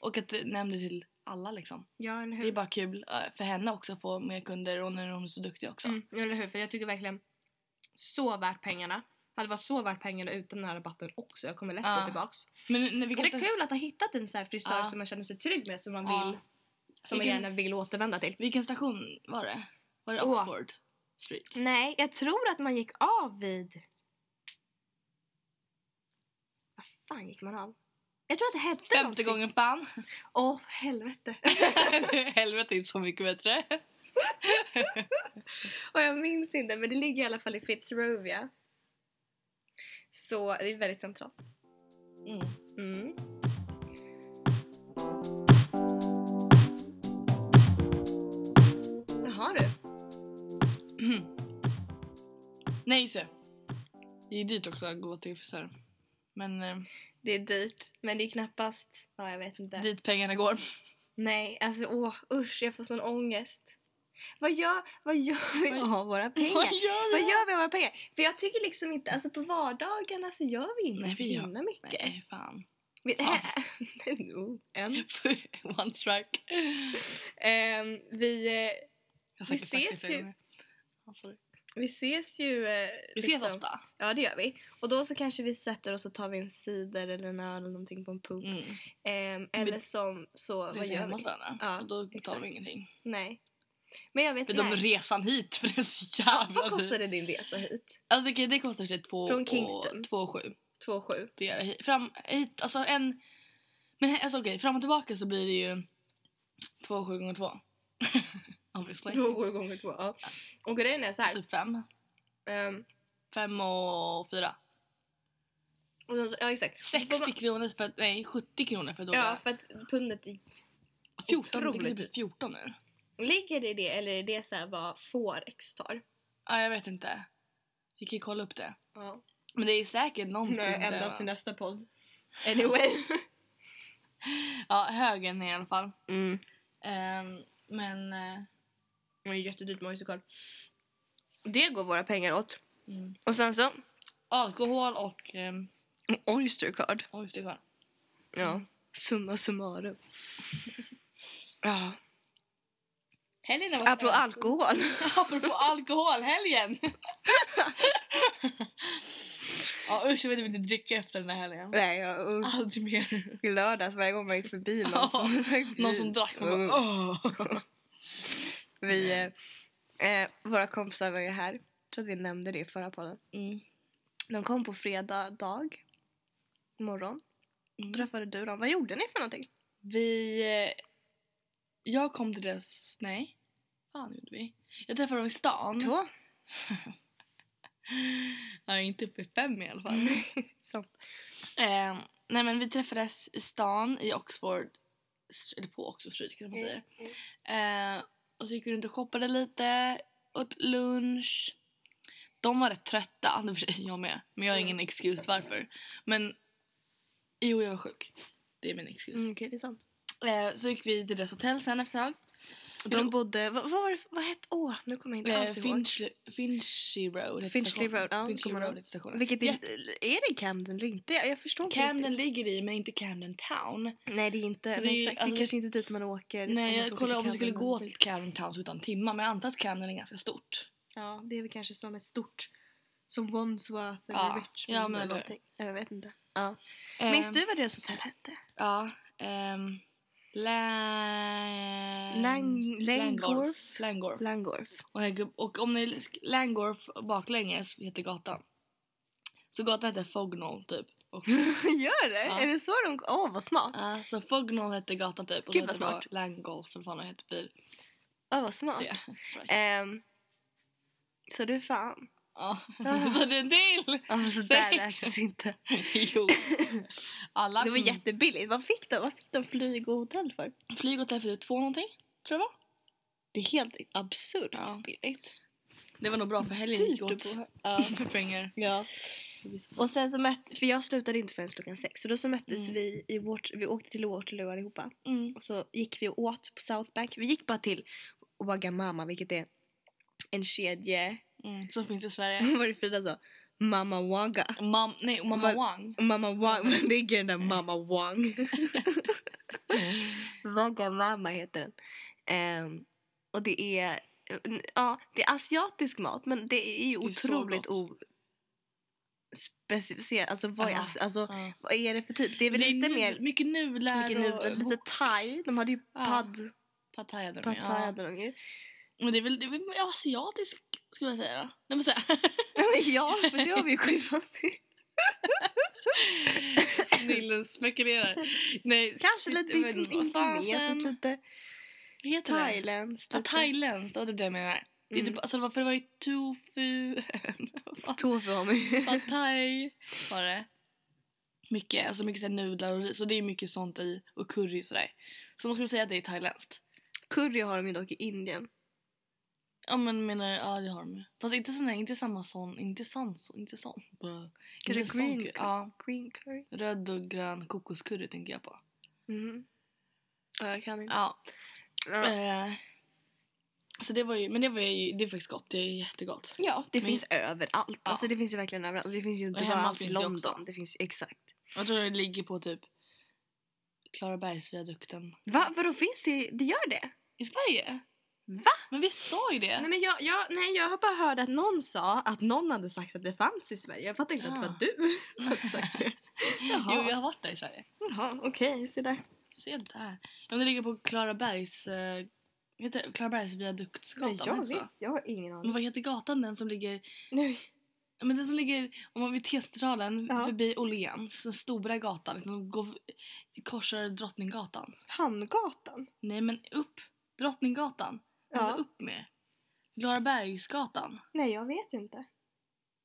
S1: och att eh, nämn det till alla liksom.
S2: Ja, eller
S1: Det är
S2: hur?
S1: bara kul eh, för henne också att få mer kunder och nu är hon så duktig också.
S2: Mm, eller hur? För jag tycker verkligen så värt pengarna. Hade varit så värt pengarna utan den här rabatten också. Jag kommer lätt
S1: Ja.
S2: gå tillbaks.
S1: Men nu- när vi
S2: Och det
S1: kastar,
S2: är kul att ha hittat en så här frisör
S1: Ja.
S2: som man känner sig trygg med som man
S1: Ja.
S2: vill som man
S1: Vilken-
S2: gärna vill återvända till.
S1: vilken station var det? Var det
S2: Åh. Mm,
S1: Oxford Street?
S2: Nej, jag tror att man gick av vid... Vad fan gick man av? Jag tror att det hette
S1: Femte
S2: någonting.
S1: gången fan.
S2: Åh, helvete.
S1: Helvete inte så mycket bättre.
S2: Och jag minns inte, men det ligger i alla fall i Fitzrovia. Så det är väldigt centralt.
S1: Mm.
S2: Mm. Jaha du.
S1: Nej, så. Det är dyrt också att gå till frisören. Men eh,
S2: Det är dyrt, men det är knappast... Ja, jag vet inte.
S1: dit pengarna går.
S2: Nej, alltså åh, usch, jag får sån ångest. Vad gör, vad gör vi
S1: Vad-
S2: av våra
S1: Vad
S2: pengar?
S1: gör
S2: vad
S1: vi?
S2: gör vi av våra pengar? För jag tycker liksom inte, alltså på vardagarna så gör vi inte
S1: Nej,
S2: så
S1: vi gör-
S2: himla mycket.
S1: Nej, fan.
S2: Vi,
S1: Ja.
S2: Jo, en.
S1: One strike.
S2: Ehm, vi, eh,
S1: Jag har
S2: Vi
S1: säkert sagt det
S2: ses
S1: flera
S2: ju.
S1: gånger. Ja, sorry.
S2: vi ses ju... eh,
S1: Vi ses
S2: liksom-
S1: ofta.
S2: Ja, det gör vi. Och då så kanske vi sätter oss och tar vi en cider eller en öl eller någonting på en pub.
S1: Mm.
S2: Ehm, eller som så,
S1: Ses
S2: vad
S1: vi
S2: gör
S1: hemma
S2: vi?
S1: hos varandra.
S2: Ja,
S1: och då betalar
S2: exakt.
S1: vi ingenting.
S2: Nej. Men jag vet
S1: Förutom
S2: nej.
S1: resan hit, för det är så jävla
S2: Vad
S1: dyrt.
S2: kostade din resa hit?
S1: Alltså, det, det kostar sig två
S2: Från
S1: och-
S2: Kingston.
S1: två och sju.
S2: 2,7.
S1: Det gör det hit. Fram, hit, alltså en... Men he- alltså, okej, fram och tillbaka så blir det ju två och sju gånger två. obviously.
S2: Två sju gånger två. Ja. Och grejen är så här.
S1: Typ fem.
S2: ehm,
S1: Fem och fyra.
S2: och sen så, ja exakt. Så får
S1: 60
S2: man-
S1: kronor för att, nej 70 kronor för att
S2: Ja
S1: åka.
S2: för att pundet i-
S1: 14, det ligger
S2: otroligt
S1: typ 14 nu.
S2: ligger det i det eller är det så här vad Forex tar?
S1: Ja, jag vet inte. Vi kan ju kolla upp det.
S2: Ja.
S1: Men det är säkert någonting
S2: Nej,
S1: där,
S2: ända
S1: va?
S2: sin nästa podd. Anyway.
S1: Ja, högen i alla fall.
S2: Mm.
S1: Ehm, men... eh,
S2: Det är jättedyrt med oysterkorv. Det går våra pengar åt.
S1: mm.
S2: Och sen så
S1: Alkohol och um,
S2: oysterkorv.
S1: oysterkorv.
S2: Ja. Summa summarum. ja.
S1: Helgen har
S2: Apropå alkohol.
S1: Apropå alkohol, helgen! ja, usch, jag vill typ inte dricka efter den här helgen.
S2: Nej, jag uh,
S1: Aldrig mer.
S2: i lördags varje gång man gick förbi någon som drack
S1: Någon
S2: vin.
S1: som drack, man
S2: Mm.
S1: bara åh.
S2: Vi, eh, eh, våra kompisar var ju här. Jag tror att vi nämnde det i förra podden.
S1: Mm.
S2: De kom på fredag dag. Morgon. Då
S1: Mm.
S2: träffade du dem. Vad gjorde ni för någonting?
S1: Vi... eh, Jag kom till deras... Nej. Fan gjorde vi? Jag träffade dem i stan.
S2: Två.
S1: Ja, inte uppe i fem i alla fall.
S2: Så.
S1: Ehm, nej men vi träffades i stan i Oxford, st- eller på Oxford Street kan man
S2: Mm,
S1: säga. Ehm, och så gick vi runt och shoppade lite, åt lunch. De var rätt trötta, i och för sig, jag med. Men jag har
S2: Mm.
S1: ingen excuse varför. Men jo, jag var sjuk. Det är min excuse.
S2: Mm, okej, det är sant.
S1: Ehm, så gick vi till deras hotell sen efter ett tag.
S2: De bodde... Vad, vad var det? Vad hette... Åh, nu kommer jag inte
S1: Ehm,
S2: alls ihåg.
S1: Finchley, Finchley Road heter
S2: Finchley
S1: stationen.
S2: Road, ja,
S1: Finchley
S2: kommer jag
S1: Road
S2: ihåg.
S1: heter stationen.
S2: Vilket
S1: Jätte-
S2: är, är det Camden eller inte? Jag jag förstår inte
S1: Camden
S2: riktigt.
S1: ligger i, men inte Camden Town.
S2: Nej, det är inte.
S1: Så
S2: nej,
S1: det är ju-
S2: exakt, det
S1: alltså-
S2: är kanske inte dit man åker. om man
S1: Nej,
S2: ska
S1: jag
S2: åka
S1: kollade
S2: till
S1: om du skulle
S2: Camden
S1: gå
S2: eller typ-
S1: till Camden Towns utan timmar, men jag antar att Camden är ganska stort.
S2: Ja, det är väl kanske som ett stort... Som Wandsworth eller
S1: Ja,
S2: Richmond
S1: ja, men
S2: eller
S1: eller hur.
S2: någonting. Jag vet inte. Ja. Minns
S1: Ehm,
S2: du vad deras hotell hette?
S1: Ja. Um, Lang...
S2: Lang-
S1: Langorf.
S2: Langorf.
S1: Langorf.
S2: Langorf.
S1: Och, jag, och om ni... Langorf baklänges heter gatan. Så gatan heter Fognall, typ. Och,
S2: Gör det?
S1: Ja.
S2: Är det så de... Åh, vad smart.
S1: Ja, så Fognall hette gatan, typ. Och
S2: Gud,
S1: så
S2: vad
S1: hette det
S2: smart.
S1: Langolf, eller vad det hette, bil.
S2: Åh, vad smart.
S1: Tror jag. Tror jag.
S2: Ehm, så du fan.
S1: Ja. Så det är en del!
S2: Alltså,
S1: där
S2: där
S1: läses
S2: läses inte.
S1: Jo. Alla
S2: Det var
S1: som-
S2: jättebilligt. Vad fick de, vad fick de flyg och hotell för?
S1: Flyg åt FU2 någonting, tror jag det var.
S2: Det är helt absurt
S1: Ja.
S2: billigt. Typ.
S1: Det var nog bra för helgen gick
S2: Dyrt
S1: åt.
S2: att bo Ja.
S1: för pengar.
S2: ja. Och sen så mötte, för jag slutade inte förrän klockan sex. Så då så möttes
S1: Mm.
S2: vi i vårt, vi åkte till Waterloo allihopa.
S1: Mm.
S2: Och så gick vi och åt på South Bank. Vi gick bara till Wagamama, vilket är en kedje.
S1: Mm. Så finns det i Sverige.
S2: Vad var det Frida sa? Mamma Waga.
S1: Mam, nej, och mamma
S2: Vad-
S1: Wang.
S2: Mamma Wang, var ligger den där Mamma Wang? Wagamama heter den. Ehm, och det är, ja, det är asiatisk mat men det är ju
S1: Det är så
S2: otroligt ospecificerat. Alltså vad, är,
S1: Ja.
S2: asi- alltså
S1: Ja.
S2: vad är det för typ? Det är väl
S1: Det är
S2: lite
S1: nu-
S2: mer
S1: Mycket nudlar
S2: mycket nudlar,
S1: och...
S2: lite thai. De hade ju
S1: Ja.
S2: pad,
S1: Pad thai hade de
S2: pad
S1: ju,
S2: thai
S1: ja.
S2: hade de ju.
S1: Men det är väl, det är väl asiatisk, skulle jag säga då. Nej men såhär.
S2: Men ja, för det har vi ju skillnad till.
S1: Snillen spekulerar. Nej,
S2: Kanske
S1: shit,
S2: lite
S1: jag vet inte, vad fasen-
S2: indonesiskt, lite
S1: Vad heter det?
S2: thailändskt.
S1: Ja,
S2: lite-
S1: thailändskt, det var typ det jag menade. Det är
S2: Mm.
S1: typ, alltså, det var- för det var ju tofu... Vad fan?
S2: Tofu har man ju.
S1: Pad thai var det. Mycket, alltså mycket så här nudlar och så det är mycket sånt i och curry och sådär. Så man skulle säga att det är thailändskt.
S2: Curry har de ju dock i Indien.
S1: Ja men menar, ja det har de ju. Fast inte sån där, inte samma sån, inte sån, så- inte sån. Bö.
S2: Är det
S1: Inte sån
S2: green
S1: curry.
S2: curry?
S1: Ja,
S2: Green curry.
S1: röd och grön kokoskurry tänker jag på.
S2: Mm. Ja, jag kan inte.
S1: Ja.
S2: Ja,
S1: Eh, så det var ju, men det var ju, det är faktiskt gott, det är jättegott.
S2: det
S1: men-
S2: finns överallt.
S1: Ja.
S2: Alltså det finns ju verkligen överallt. Och Det finns ju inte
S1: Och
S2: bara
S1: hemma
S2: alls i
S1: finns det
S2: London.
S1: också.
S2: Det finns ju exakt.
S1: Jag tror det ligger på typ Klarabergsviadukten.
S2: Va? Vadå finns det? Det gör det?
S1: I Sverige?
S2: Va?
S1: Men vi sa ju det.
S2: Nej men jag, jag, nej, jag har bara hört att någon sa att någon hade sagt att det fanns i Sverige. Jag fattar inte att det var
S1: Ah.
S2: du som hade sagt det. Jaha.
S1: Jo, jag har varit där i Sverige.
S2: Jaha, okej. se där.
S1: Se där. Ja, men det ligger på Klarabergs... Eh, heter det Klarabergsviaduktsgatan?
S2: jag
S1: heter det så?
S2: vet. Jag har ingen aning.
S1: Men vad heter gatan den som ligger
S2: Nej.
S1: Ja, Men den som ligger om man vid T-centralen
S2: Ja.
S1: förbi Åhléns, den stora gatan, liksom, går, korsar Drottninggatan.
S2: Hamngatan?
S1: Nej men upp! Drottninggatan. Vad var
S2: Ja.
S1: upp med? Glarabergsgatan.
S2: Nej, jag vet inte.
S1: Vet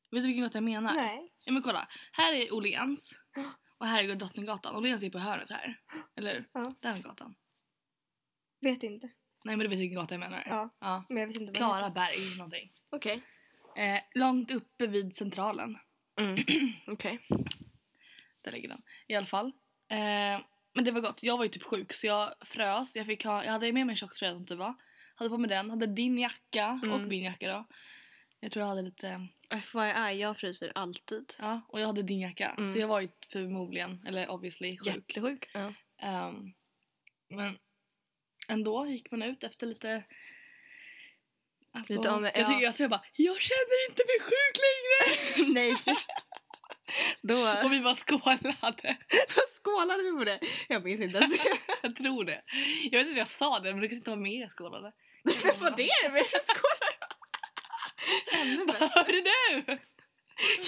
S1: du vilken gata jag menar?
S2: Nej.
S1: Ja, men kolla. Här är Åhléns. Och här är Drottninggatan. Åhléns är på hörnet här. Eller
S2: Ja.
S1: Den gatan.
S2: Vet inte.
S1: Nej men du vet vilken gata jag menar.
S2: Ja.
S1: ja.
S2: Men jag vet inte vad det heter.
S1: Klara Berg någonting.
S2: Okej.
S1: Eh, långt uppe vid centralen.
S2: Mm. Okej.
S1: Där ligger den. I alla fall. Eh, men det var gott. Jag var ju typ sjuk så jag frös. Jag, fick ha, jag hade med mig en tjocktröja som du var. Hade på mig den. Hade din jacka och
S2: Mm.
S1: min jacka då. Jag tror jag hade lite...
S2: FYI, jag fryser alltid.
S1: Ja, och jag hade din jacka.
S2: Mm.
S1: Så jag var ju förmodligen, eller obviously, sjuk.
S2: Jättesjuk. Ja.
S1: Ehm, men ändå gick man ut efter lite... alkohol.
S2: av-
S1: jag,
S2: ja.
S1: tycker, jag tror jag bara, jag känner inte mig sjuk längre!
S2: Nej. Då
S1: Och vi var skålade.
S2: skålade vi på det. Jag minns inte ens.
S1: Jag tror det. Jag vet inte jag sa det, men det kanske inte var mer jag skålade.
S2: Vad det är med skålar Ännu bättre.
S1: Hör du nu?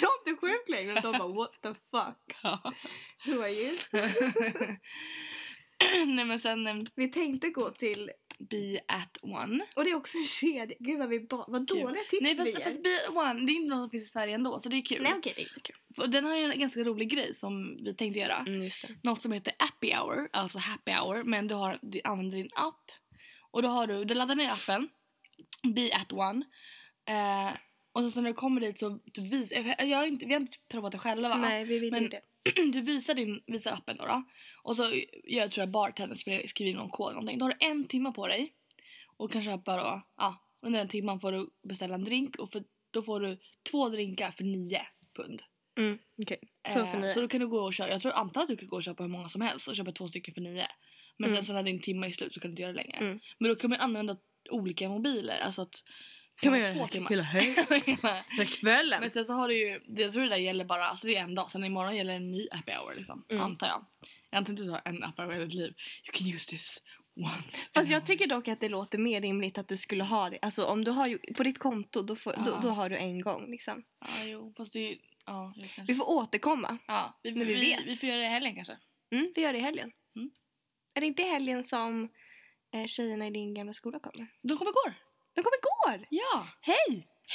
S2: Jag är inte sjuk längre. De bara what the fuck.
S1: Ja.
S2: Who are you?
S1: Nej men sen eh,
S2: Vi tänkte gå till,
S1: Be at one.
S2: och det är också en kedja. Gud vad, vi ba, vad
S1: Kul.
S2: dåliga tips
S1: Nej
S2: vi
S1: fast,
S2: ger.
S1: fast Be at one, det är inte något som finns i Sverige ändå så det är kul.
S2: Nej okej, det är kul.
S1: Och Den har ju en ganska rolig grej som vi tänkte göra.
S2: Mm, just det.
S1: något som heter Happy Hour, alltså Happy Hour, men du, har, du använder din app. Och då har du, du laddar ner appen, Be at One. Eh, och sen så när du kommer dit så du vis, jag har inte, vi har inte provat det själva.
S2: Nej, vi vill
S1: Men-
S2: ju det.
S1: Du visar, din, visar appen då, då. Och så gör tror jag bartendern skriver- skriver in någon kod eller någonting. Då har du en timme på dig. Och kan köpa då, ja, under den timman får du beställa en drink och för, då får du två drinkar för nio pund.
S2: Mm, okej. Två för
S1: Eh,
S2: nio.
S1: Så då kan du gå och köpa, jag tror antar att du kan gå och köpa hur många som helst och köpa två stycken för nio. Men
S2: Mm.
S1: sen så när din timme är slut så kan du inte göra det längre.
S2: Mm.
S1: Men då kan man använda olika mobiler. Alltså att två timmar.
S2: hela, hela kvällen?
S1: Men sen så har du ju, det- jag tror det där gäller bara, alltså det är en dag. Sen imorgon gäller en ny happy hour liksom.
S2: Mm.
S1: Antar jag. Jag antar inte att du har en happy hour i ditt liv. You can use this once.
S2: Fast jag tycker dock att det låter mer rimligt att du skulle ha det. Alltså om du har ju, på ditt konto då, får, då,
S1: Ja.
S2: då har du en gång liksom.
S1: Ja, jo, fast det är ju, ja, jag kanske.
S2: Vi får återkomma.
S1: Ja, vi,
S2: Men vi
S1: vi, vi,
S2: vet.
S1: får göra det i helgen kanske.
S2: Mm, vi gör det i helgen.
S1: Mm.
S2: Är det inte i helgen som eh, tjejerna i din gamla skola kommer?
S1: De kommer igår.
S2: De kom igår!
S1: Ja.
S2: Hej!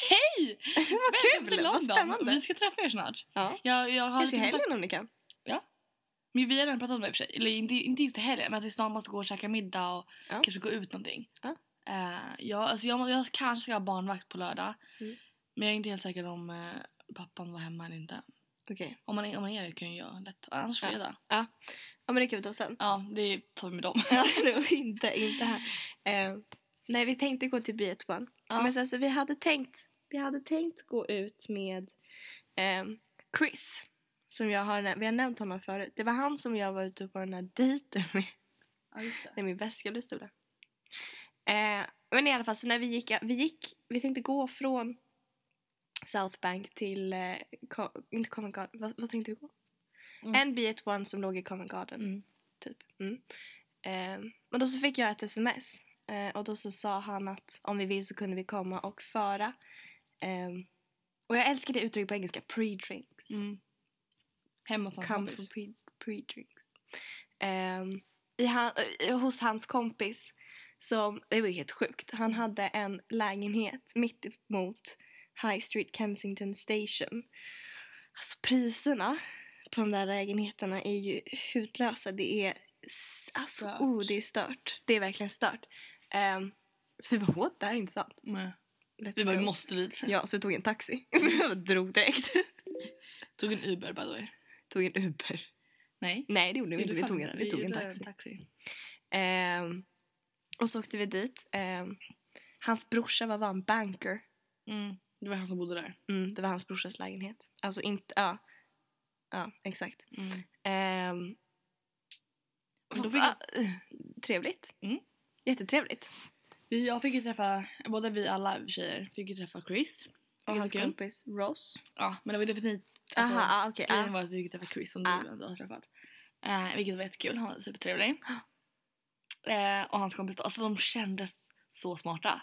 S1: Hej!
S2: Vad
S1: Välkommen
S2: kul!
S1: till
S2: Vad
S1: London.
S2: spännande!
S1: Vi ska träffa er snart.
S2: Ja.
S1: Jag, jag har
S2: Kanske i
S1: lite kontakt-
S2: helgen om ni kan.
S1: Men vi har redan pratat om det i och för sig. Eller inte, inte just i helgen, men att vi snart måste gå och käka middag och
S2: Ja.
S1: kanske gå ut någonting.
S2: Ja.
S1: Eh, ja, alltså jag, må- jag kanske ska ha barnvakt på lördag.
S2: Mm.
S1: Men jag är inte helt säker om eh, pappan var hemma eller inte.
S2: Okej.
S1: Om man, om man är det kan jag lätt. Annars
S2: Ja.
S1: fredag.
S2: Ja men det kan vi ta sen.
S1: Ja, det tar vi med dem.
S2: Ja, då, inte, inte här. Eh, nej vi tänkte gå till Beat One.
S1: Ja.
S2: Men sen så vi hade tänkt, vi hade tänkt gå ut med eh, Chris. Som jag har, nä- vi har nämnt honom förut. Det var han som jag var ute på den här dejten med.
S1: Ja, just det.
S2: Nej, min väska blir stor där. Eh, men i alla fall, så när vi gick, vi gick, vi tänkte gå från South Bank till, eh, Co- inte Covent Garden, vad, vad tänkte vi gå?
S1: Mm.
S2: En Be It One som låg i Covent Garden,
S1: Mm.
S2: typ. Mm. Eh, men då så fick jag ett sms eh, och då så sa han att om vi vill så kunde vi komma och föra. Eh, och jag älskar det uttrycket på engelska, pre-drink.
S1: Mm. Hemma hos hans
S2: Come for
S1: kompis.
S2: pre- pre-drinks. Ehm, i han, eh, hos hans kompis, som, det var ju helt sjukt, han hade en lägenhet mitt emot High Street Kensington Station. Alltså priserna på de där lägenheterna är ju hutlösa. Det är, s- alltså,
S1: Stört.
S2: oh, det är stört. Det är verkligen stört. Ehm, så vi bara, what, det här är intressant.
S1: Nej.
S2: Let's
S1: Mm. Vi bara,
S2: go."
S1: vi måste dit.
S2: Ja, så vi tog en taxi. Vi drog direkt.
S1: Tog en Uber by the way.
S2: tog en Uber.
S1: Nej.
S2: Nej, det gjorde vi
S1: Gjorde
S2: inte. Vi
S1: fan
S2: tog
S1: inte
S2: en,
S1: det.
S2: vi tog en
S1: gjorde
S2: taxi. Ehm, och så åkte vi dit. Ehm, hans brorsa var, var en banker.
S1: Mm. Det var han som bodde där.
S2: Mm, det var hans brorsas lägenhet. Alltså inte, ja. Ja, exakt.
S1: Mm.
S2: Ehm,
S1: Men då
S2: va-
S1: fick
S2: Trevligt.
S1: Mm.
S2: Jättetrevligt.
S1: Vi, jag fick ju träffa, både vi alla tjejer, fick ju träffa Chris.
S2: Och
S1: Vilket
S2: hans
S1: kul.
S2: kompis Ross.
S1: Ja, men det var definitivt... Alltså,
S2: Aha, ah, okej.
S1: Grejen
S2: ah.
S1: var att vi fick träffa Chris som
S2: Ah.
S1: du ändå har träffat. Eh, vilket var jättekul, han var supertrevlig. Eh, och hans kompis då, alltså de kändes så smarta.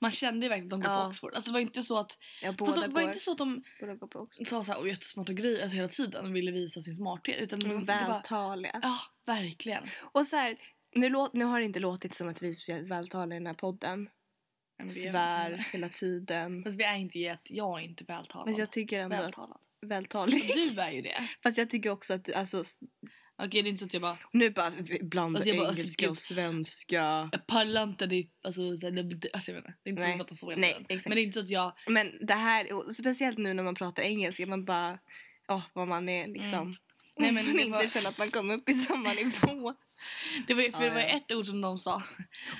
S1: Man kände ju verkligen att de går
S2: Ja.
S1: på Oxford. Alltså det var inte så att...
S2: Ja,
S1: Fast
S2: båda,
S1: det var
S2: går,
S1: inte så att de
S2: båda går på också.
S1: sa såhär åh jättesmarta grejer alltså, hela tiden och ville visa sin smarthet. Utan
S2: De
S1: Mm, det
S2: är
S1: var- det var-
S2: vältaliga.
S1: Ja, verkligen.
S2: Och så här, nu, lå- nu har det inte låtit som att vi är speciellt vältaliga i den här podden.
S1: men det är jag
S2: svär
S1: inte.
S2: hela tiden.
S1: Fast vi är inte jätte... Jag är inte vältalad.
S2: Men jag tycker ändå att...
S1: vältalad.
S2: Vältalig.
S1: Du är ju det.
S2: Fast jag tycker också att du, alltså, s-
S1: Okej, det är inte så att jag bara...
S2: nu bara v- blanda
S1: Alltså, jag bara, alltså,
S2: engelska
S1: gud.
S2: och svenska.
S1: Jag pallar inte det. Alltså, så här, det- det- alltså jag vet inte. Det är inte så att
S2: Nej.
S1: jag pratar så hela
S2: Nej,
S1: tiden.
S2: exakt.
S1: Men det är inte så att jag...
S2: Men det här, och speciellt nu när man pratar engelska, man bara, ja, vad man är liksom.
S1: Mm. Nej, men det
S2: inte
S1: var-
S2: känner att man kommer upp i samma nivå.
S1: Det var, ju- för
S2: Ja,
S1: det var ju
S2: ja.
S1: ett ord som de sa.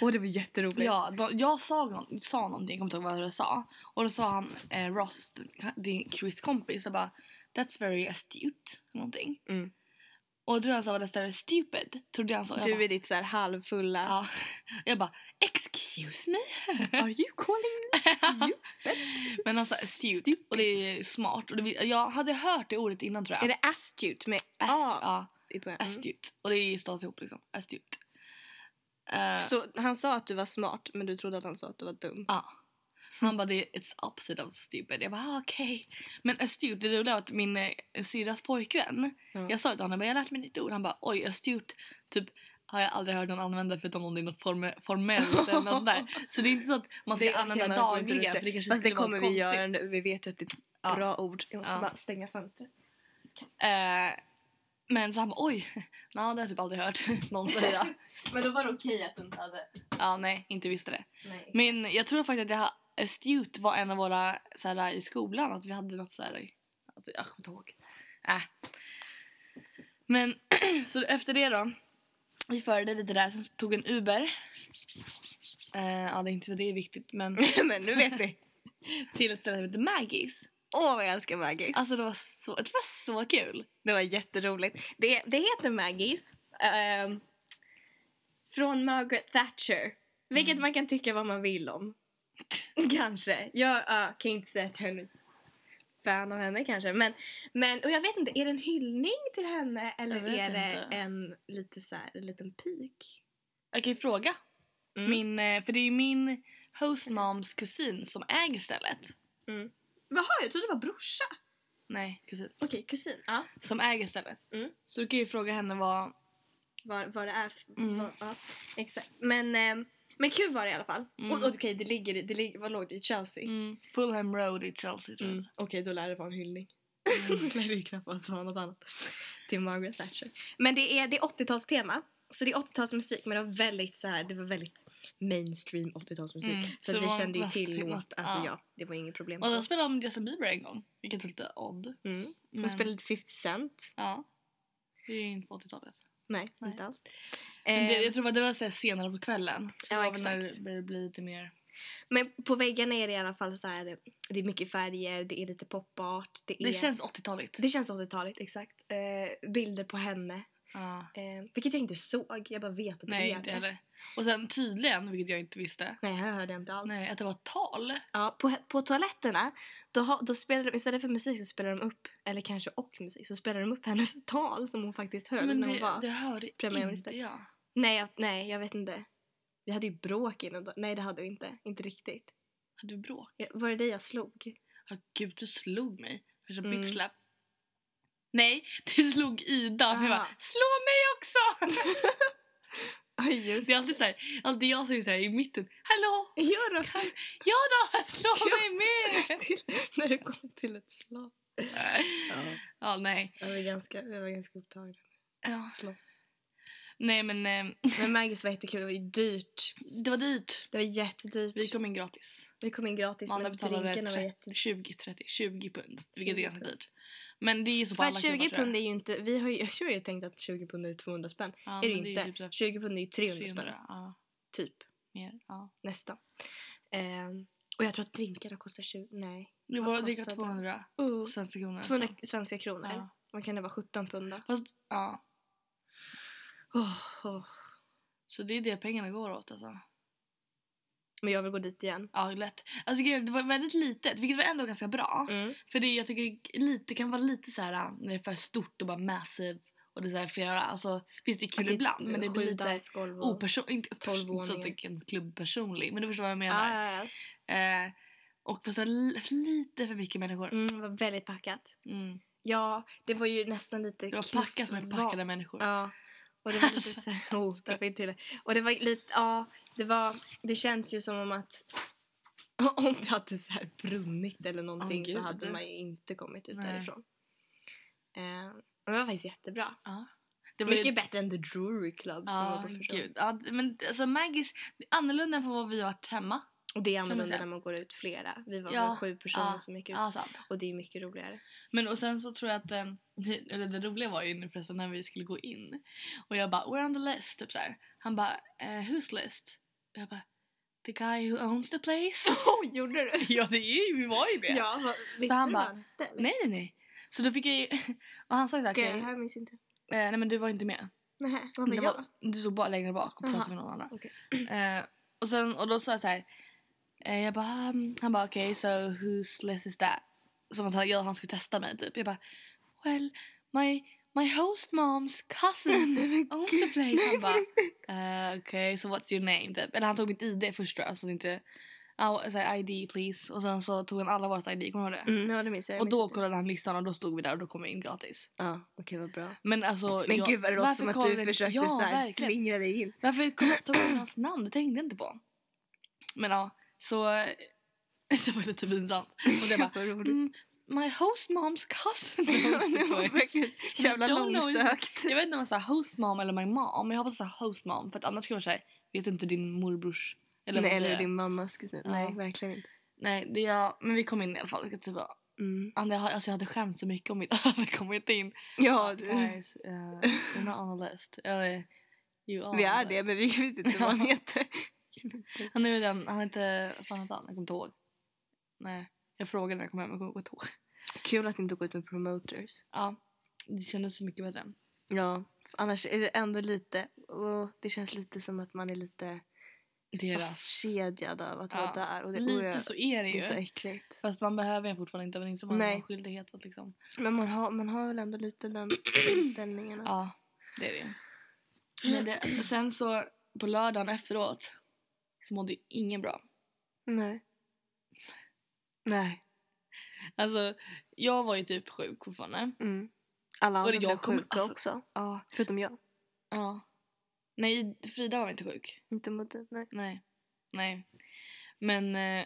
S2: Åh, det var jätteroligt.
S1: Ja, de, jag sa, någon, sa någonting, jag kommer inte ihåg vad jag sa. Och då sa han, eh, Ross, din Chris kompis, och bara That's very astute, någonting.
S2: Mm.
S1: Och då han sa that's very stupid, trodde jag han sa. Jag
S2: Du
S1: bara,
S2: är ditt så här halvfulla.
S1: ja. jag bara excuse me.
S2: Are you calling me stupid?
S1: Men han sa astute,
S2: Stupid.
S1: och det är ju smart. Och det, vi- jag hade hört det ordet innan tror jag.
S2: Är det astute med
S1: Ast-
S2: A
S1: ja,
S2: i början? Mm.
S1: astute. Och det stavas ihop liksom, astute. Eh,
S2: Så han sa att du var smart, men du trodde att han sa att du var dum.
S1: Ja. Han bara, det är it's opposite of stupid. Jag bara, ah, okej. Men astute, det roliga var att min eh, syrras pojkvän,
S2: Ja.
S1: jag sa till honom, "Men jag har lärt mig ditt ord. Han bara, oj, astute, typ har jag aldrig hört någon använda förutom om det är något form- formellt eller något sånt där. Så det är inte så att man ska
S2: Det- okej,
S1: använda
S2: man får inte
S1: dagligen
S2: rutschka.
S1: för det kanske
S2: Fast det
S1: skulle vara
S2: kommer
S1: något
S2: vi
S1: konstigt.
S2: göra nu. Vi vet ju att det är ett
S1: Ja.
S2: bra ord. Jag måste
S1: Ja.
S2: bara stänga fönstret.
S1: Eh, men så han bara, oj, nej det har jag typ aldrig hört någon säga.
S2: Men då var det okej att du inte hade...
S1: ja, nej, inte visste det.
S2: Nej.
S1: Men jag tror faktiskt att jag, ha- astute var en av våra så här, i skolan, att vi hade något så här, alltså, jag kommer inte ihåg. Äh. Men så efter det då, vi förde lite där, sen så tog vi en Uber. Eh, ja, det är inte för det är viktigt, men
S2: men nu vet vi.
S1: till ett ställe som heter Maggie's.
S2: Åh, vad jag älskar Maggis.
S1: Alltså det var så, det var så kul.
S2: det var jätteroligt. Det, det heter Maggis. ehm, från Margaret Thatcher. Vilket
S1: Mm.
S2: man kan tycka vad man vill om. kanske. Jag ja, kan inte säga att jag är en fan av henne kanske. Men, men och jag vet inte, är det en hyllning till henne eller
S1: Jag vet
S2: är det
S1: inte.
S2: en lite så här, en liten pik?
S1: Jag kan ju fråga,
S2: Mm.
S1: min, eh, för det är ju min hostmoms kusin som äger stället.
S2: Jaha, jag trodde det var brorsa.
S1: Nej, kusin.
S2: Okej, kusin. Ja.
S1: Som äger stället.
S2: Mm.
S1: Så du kan ju fråga henne vad...
S2: vad, vad det är. För,
S1: Mm.
S2: vad, ja, exakt. Men, ehm, men kul var det i alla fall.
S1: Mm.
S2: Och, och okej, det ligger, i- det ligger, vad låg det i Chelsea?
S1: Mm, Fulham Road i Chelsea tror jag.
S2: Mm. Okej, då lär det vara en hyllning.
S1: Mm.
S2: lär det ju knappast vara något annat. Till Margaret Thatcher. Men det är, det är 80-talstema. Så det är 80-talsmusik men det var väldigt så här, det var väldigt mainstream 80-talsmusik.
S1: Mm, så
S2: Så, vi
S1: det var
S2: kände ju
S1: mest
S2: till
S1: till
S2: låt,
S1: något,
S2: alltså ja.
S1: ja.
S2: det var inget problem.
S1: Och
S2: så.
S1: då spelade de Justin Bieber en gång, vilket är lite odd.
S2: Mm. Hon
S1: Men-
S2: spelade lite 50 Cent.
S1: Ja. Det är ju inte på 80-talet.
S2: Nej,
S1: Nej.
S2: inte alls.
S1: Men det,
S2: Ehm,
S1: jag tror att det var så här senare på kvällen. Så
S2: Ja,
S1: det var väl När
S2: exakt.
S1: det började bli lite mer...
S2: Men på väggarna är det i alla fall så här, det är mycket färger, det är lite popart. Det, är,
S1: Det känns 80-taligt.
S2: det känns 80-taligt, exakt. Eh, bilder på henne,
S1: Ja.
S2: eh, vilket jag inte såg, jag bara vet att
S1: Nej,
S2: det är
S1: inte
S2: det.
S1: heller. Och sen tydligen, vilket jag inte visste,
S2: Nej, här hörde jag inte alls.
S1: nej, att det var ett tal.
S2: Ja, på, på toaletterna, då, ha- då spelar de, istället för musik så spelar de upp, eller kanske och musik, så spelar de upp hennes tal som hon faktiskt höll
S1: Men
S2: när hon
S1: det,
S2: var.
S1: det hörde
S2: premiärminister.
S1: inte jag.
S2: Nej, jag, nej, jag vet inte. Vi hade ju bråk innan då. Nej, det hade vi inte. Inte riktigt.
S1: Hade du bråk?
S2: Jag- Var det dig jag slog?
S1: Ja, gud, du slog mig. Första
S2: Mm.
S1: byxläpp. Nej, du slog Ida. För jag
S2: Aha.
S1: bara, slå mig också!
S2: Oj, just
S1: Det är alltid så här, alltid jag som är så här i mitten. Hallå!
S2: Gör de
S1: Kan... Ja då, slå mig med!
S2: till, när det kom till ett slag.
S1: Ja, nej.
S2: Jag var ganska, jag var ganska upptagen.
S1: Ja.
S2: Slåss.
S1: Nej men eh,
S2: Men Maggis var jättekul, det var ju dyrt.
S1: det var dyrt.
S2: Det var jättedyrt.
S1: Vi kom in gratis.
S2: Vi kom in gratis
S1: Amanda
S2: men
S1: betalade
S2: drinkarna var
S1: 30,
S2: jättedyrt.
S1: 20, 30, 20 pund. Vilket
S2: 20
S1: är ganska dyrt. Men det är ju så på
S2: För
S1: alla
S2: att 20
S1: klubbar, tror jag.
S2: pund är ju inte, vi har ju, jag har ju tänkt att 20 pund är 200 spänn.
S1: ja,
S2: är det
S1: men
S2: ju inte.
S1: typ så här
S2: 20 pund är ju 300,
S1: 300,
S2: spänn.
S1: Ja,
S2: Typ,
S1: mer. Ja.
S2: nästan. Ehm, och jag tror att drinkarna kostar 20, nej.
S1: Det
S2: Vad
S1: var det
S2: kostar
S1: var 200
S2: det? Uh,
S1: svenska kronor.
S2: 200
S1: Oh. nästan.
S2: svenska kronor.
S1: Ja.
S2: Vad kan det vara, 17 pund då?
S1: Fast, ja.
S2: Åh, åh.
S1: Så det är det pengarna går åt alltså.
S2: Men jag vill gå dit igen.
S1: Ja, lätt. Alltså grejen är att det var väldigt litet, vilket var ändå ganska bra.
S2: Mm.
S1: För det, jag tycker det lite, kan vara lite så här äh, när det är för stort och bara massive och det är så här flera, alltså visst det är kul
S2: Att
S1: ibland men det
S2: sju
S1: blir lite såhär
S2: dansgolv och-
S1: opersonligt, inte,
S2: tolv
S1: inte så att det
S2: våningar.
S1: är en klubb personlig men du förstår vad jag
S2: Ja,
S1: menar.
S2: ja, ja.
S1: Eh, och fast det var li- lite för mycket människor.
S2: Mm, det var väldigt packat.
S1: Mm.
S2: Ja, det var ju nästan lite
S1: Det var packat med packade människor.
S2: Ja. Och det var lite
S1: Alltså.
S2: så här, oh, där fick jag till det. Och det var lite, ja, det var, det känns ju som om att Om det hade så här brunnit eller någonting så
S1: gud.
S2: hade man ju inte kommit ut
S1: Nej.
S2: därifrån. Eh, men det var faktiskt jättebra.
S1: Ja. Det var ju-
S2: Mycket bättre än The Drury Club som var
S1: Ja,
S2: på första
S1: gud. Ja, d- men alltså Maggis, det är annorlunda än för vad vi har varit hemma.
S2: Och det är
S1: man
S2: annorlunda
S1: säga.
S2: när man går ut flera. Vi var
S1: Ja,
S2: väl sju personer
S1: ja,
S2: som gick ut.
S1: Ja, sant.
S2: Och det är ju mycket roligare.
S1: Men och sen så tror jag att, eh, det- eller det roliga var ju nu förresten när vi skulle gå in och jag bara “We're on the list” typ såhär. Han bara eh, “Who's list?” och jag bara “The guy who owns the place”.
S2: Oh, gjorde du?
S1: ja, det är ju, vi var ju det.
S2: Ja, vad- visste
S1: han
S2: du
S1: bara,
S2: vad han hette? eller?
S1: Nej, nej, nej. Så då fick jag ju, och han sa ju
S2: Okej,
S1: okej, eh,
S2: jag minns inte.
S1: nej men du var inte med.
S2: Nej, vad var
S1: Det
S2: jag?
S1: var, du stod bara längre bak och pratade
S2: Aha,
S1: med någon annan.
S2: okej.
S1: Eh, och, sen, och då sa jag så här. Eh, jag bara, "Hmm." han bara okej, so whose list is that? Som att han, ja, han skulle testa mig typ. Jag bara, well, my, my host moms cousin owns the place. Han bara, eh, okej, so what's your name? Typ. Eller han tog mitt ID först tror jag, så det inte, ah, så här, ID please. Och sen så tog han alla våras ID, kommer du ihåg det?
S2: Mm, ja, det minns jag. jag
S1: Och
S2: minns
S1: då
S2: inte.
S1: kollade han listan och då stod vi där och då kom vi in gratis.
S2: Ja, okej vad bra.
S1: Men alltså...
S2: Men
S1: jag-
S2: gud vad det låter
S1: varför
S2: som att
S1: kollade
S2: du
S1: ni-
S2: försökte
S1: ja,
S2: så här
S1: verkligen.
S2: slingra dig in.
S1: Varför kom jag inte ihåg hans namn? Det tänkte jag inte på. Men ja, så... Det var lite pinsamt. Och det bara...
S2: Vad roligt.
S1: Mm, my host mom's cousin.
S2: det var verkligen jävla
S1: I don't know.
S2: långsökt.
S1: jag vet inte om jag sa host mom eller my mom. Men jag hoppas jag sa host mom. För att annars skulle jag säga vet inte din morbrors... Eller,
S2: Nej,
S1: vad det
S2: eller
S1: är.
S2: din mammas kusin.
S1: Ja.
S2: Nej, verkligen inte.
S1: Nej, det är jag. Men vi kom in i alla fall. Jag, typ, bara-
S2: Mm.
S1: Anna, jag har- alltså, jag hade skämt så mycket om inte hade kommit in.
S2: Ja, mm.
S1: Guys, uh, you're not on the list. Eller, you are
S2: vi
S1: on
S2: är
S1: the
S2: det men vi vet inte vad han heter.
S1: Han är ju den, han heter, vad fan heter han? Jag kommer inte ihåg. Nej, jag frågade när jag kom hem, jag kommer inte ihåg.
S2: Kul att inte gå ut med promoters.
S1: Ja, det kändes så mycket bättre.
S2: Ja, annars är det ändå lite, och det känns lite som att man är lite fastkedjad av att vara
S1: Ja,
S2: där. Och det, och
S1: Lite
S2: jag,
S1: så är det
S2: det är så
S1: ju.
S2: äckligt.
S1: Fast man behöver ju fortfarande inte, men inte som man har
S2: Nej.
S1: en skyldighet att liksom.
S2: Men man har, man har väl ändå lite den inställningen. att-
S1: Ja, det är det ju. Men det, sen så på lördagen efteråt så mådde ju ingen bra.
S2: Nej. Nej.
S1: Alltså, jag var ju typ sjuk fortfarande.
S2: Mm. Alla
S1: Och det
S2: andra blev
S1: jag kommer-
S2: sjuka
S1: alltså-
S2: också.
S1: Ja.
S2: Förutom jag.
S1: Ja. Nej, Frida var inte sjuk.
S2: Inte mot dig, nej.
S1: Nej. Nej. Men... Eh,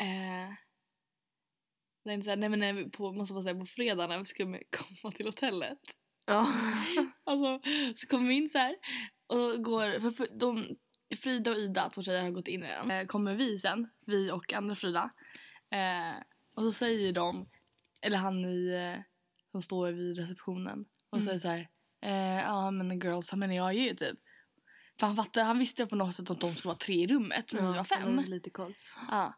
S1: eh, det är inte så här, nej men när vi på, måste bara säga, på fredag när vi skulle komma till hotellet.
S2: Ja.
S1: Alltså, så kommer vi in så här och går... För, för, de, Frida och Ida, två tjejer, har gått in redan. Eh, kommer vi sen, vi och andra Frida. Eh, och så säger de, eller han i, eh, som står vid receptionen och
S2: Mm.
S1: säger så här... eh, Ja, men girls, how many are you? Typ. För han, fattade, han visste på något sätt att de skulle vara tre i rummet, men vi var
S2: jag hade
S1: fem.
S2: lite koll.
S1: Ja.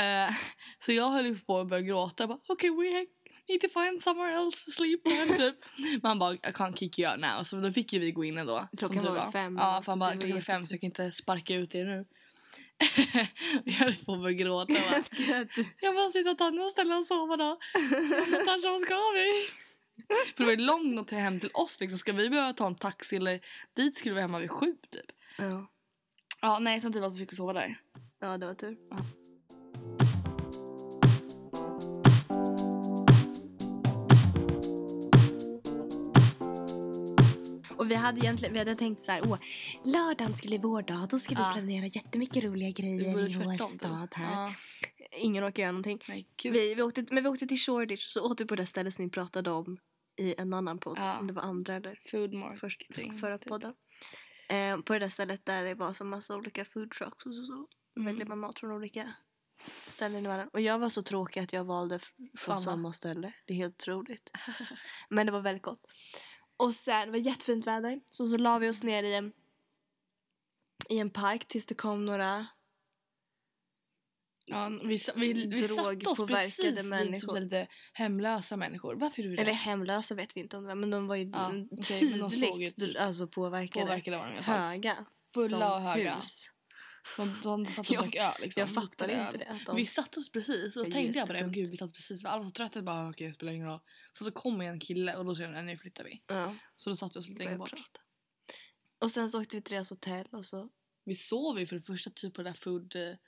S1: Eh, så jag höll ju på att börja gråta. Jag bara, okay, we need to find somewhere else to sleep. on," typ. Man bara, I can't kick you out now. Så då fick ju vi gå in ändå. som
S2: Klockan
S1: tur
S2: var väl fem,
S1: Ja, för
S2: så
S1: han bara,
S2: det var
S1: klockan är
S2: jätte-
S1: fem så jag kan inte sparka ut er nu. jag höll på att börja gråta. Jag bara, jag bara sitta och ta något ställe och sova då. Natasha, vad ska vi? För det var ju långt att ta hem till oss. Liksom. Ska vi behöva ta en taxi eller dit skulle vi hemma vid sju typ.
S2: ja.
S1: Ja, nej, som tur var så fick vi sova där.
S2: ja, det var tur. Och vi hade egentligen vi hade tänkt så här, åh, lördagen skulle vara vår dag, då ska vi
S1: Ja.
S2: planera jättemycket roliga
S1: Det
S2: grejer
S1: vore
S2: i vår
S1: tvärtom, typ.
S2: stad här.
S1: Ja.
S2: Ingen orkar göra någonting.
S1: Nej, gud.
S2: Vi, vi åkte, men vi åkte till Shoreditch så åt vi på det stället som vi pratade om i en annan podd.
S1: Ja.
S2: Om det var andra eller
S1: Food market.
S2: först,
S1: Ting,
S2: förra
S1: typ.
S2: podden. Eh, på det där stället där det var så massa olika food trucks och så. så. Då
S1: Mm.
S2: Väljer man mat från olika ställen i världen. Och jag var så tråkig att jag valde f- från
S1: Samma.
S2: samma ställe. Det är helt otroligt. Men det var väldigt gott. Och sen, det var jättefint väder. Så så la vi oss
S1: Mm.
S2: ner i en, i en park tills det kom några
S1: Ja, vi, sa- vi, vi satte oss
S2: Drogpåverkade
S1: precis vid
S2: människor.
S1: som lite hemlösa människor. Varför gjorde du det?
S2: Eller hemlösa vet vi inte om det var, men de var ju
S1: Ja,
S2: mm,
S1: okej, men de såg ju
S2: tydligt
S1: typ
S2: alltså, påverkade.
S1: Påverkade var de i alla fall.
S2: Höga.
S1: Fulla
S2: som
S1: och höga.
S2: Hus.
S1: De, de satt och
S2: Jag-
S1: drack öl. Liksom.
S2: jag fattade
S1: Luktade
S2: inte det. Att
S1: öl.
S2: de,
S1: Vi satte oss precis och
S2: Det
S1: då
S2: är
S1: tänkte jag på det. Men
S2: jättedumt.
S1: gud, vi satt precis. Vi var alla så trötta. Jag bara, okej, det spelar ingen roll. Så, så kom en kille och då sa jag, nej, nu flyttar vi.
S2: ja,
S1: Så då satte vi oss lite längre
S2: började
S1: bort.
S2: prata. Och sen så åkte vi till deras hotell och så.
S1: Vi sov ju för det första typ på det där food-stället.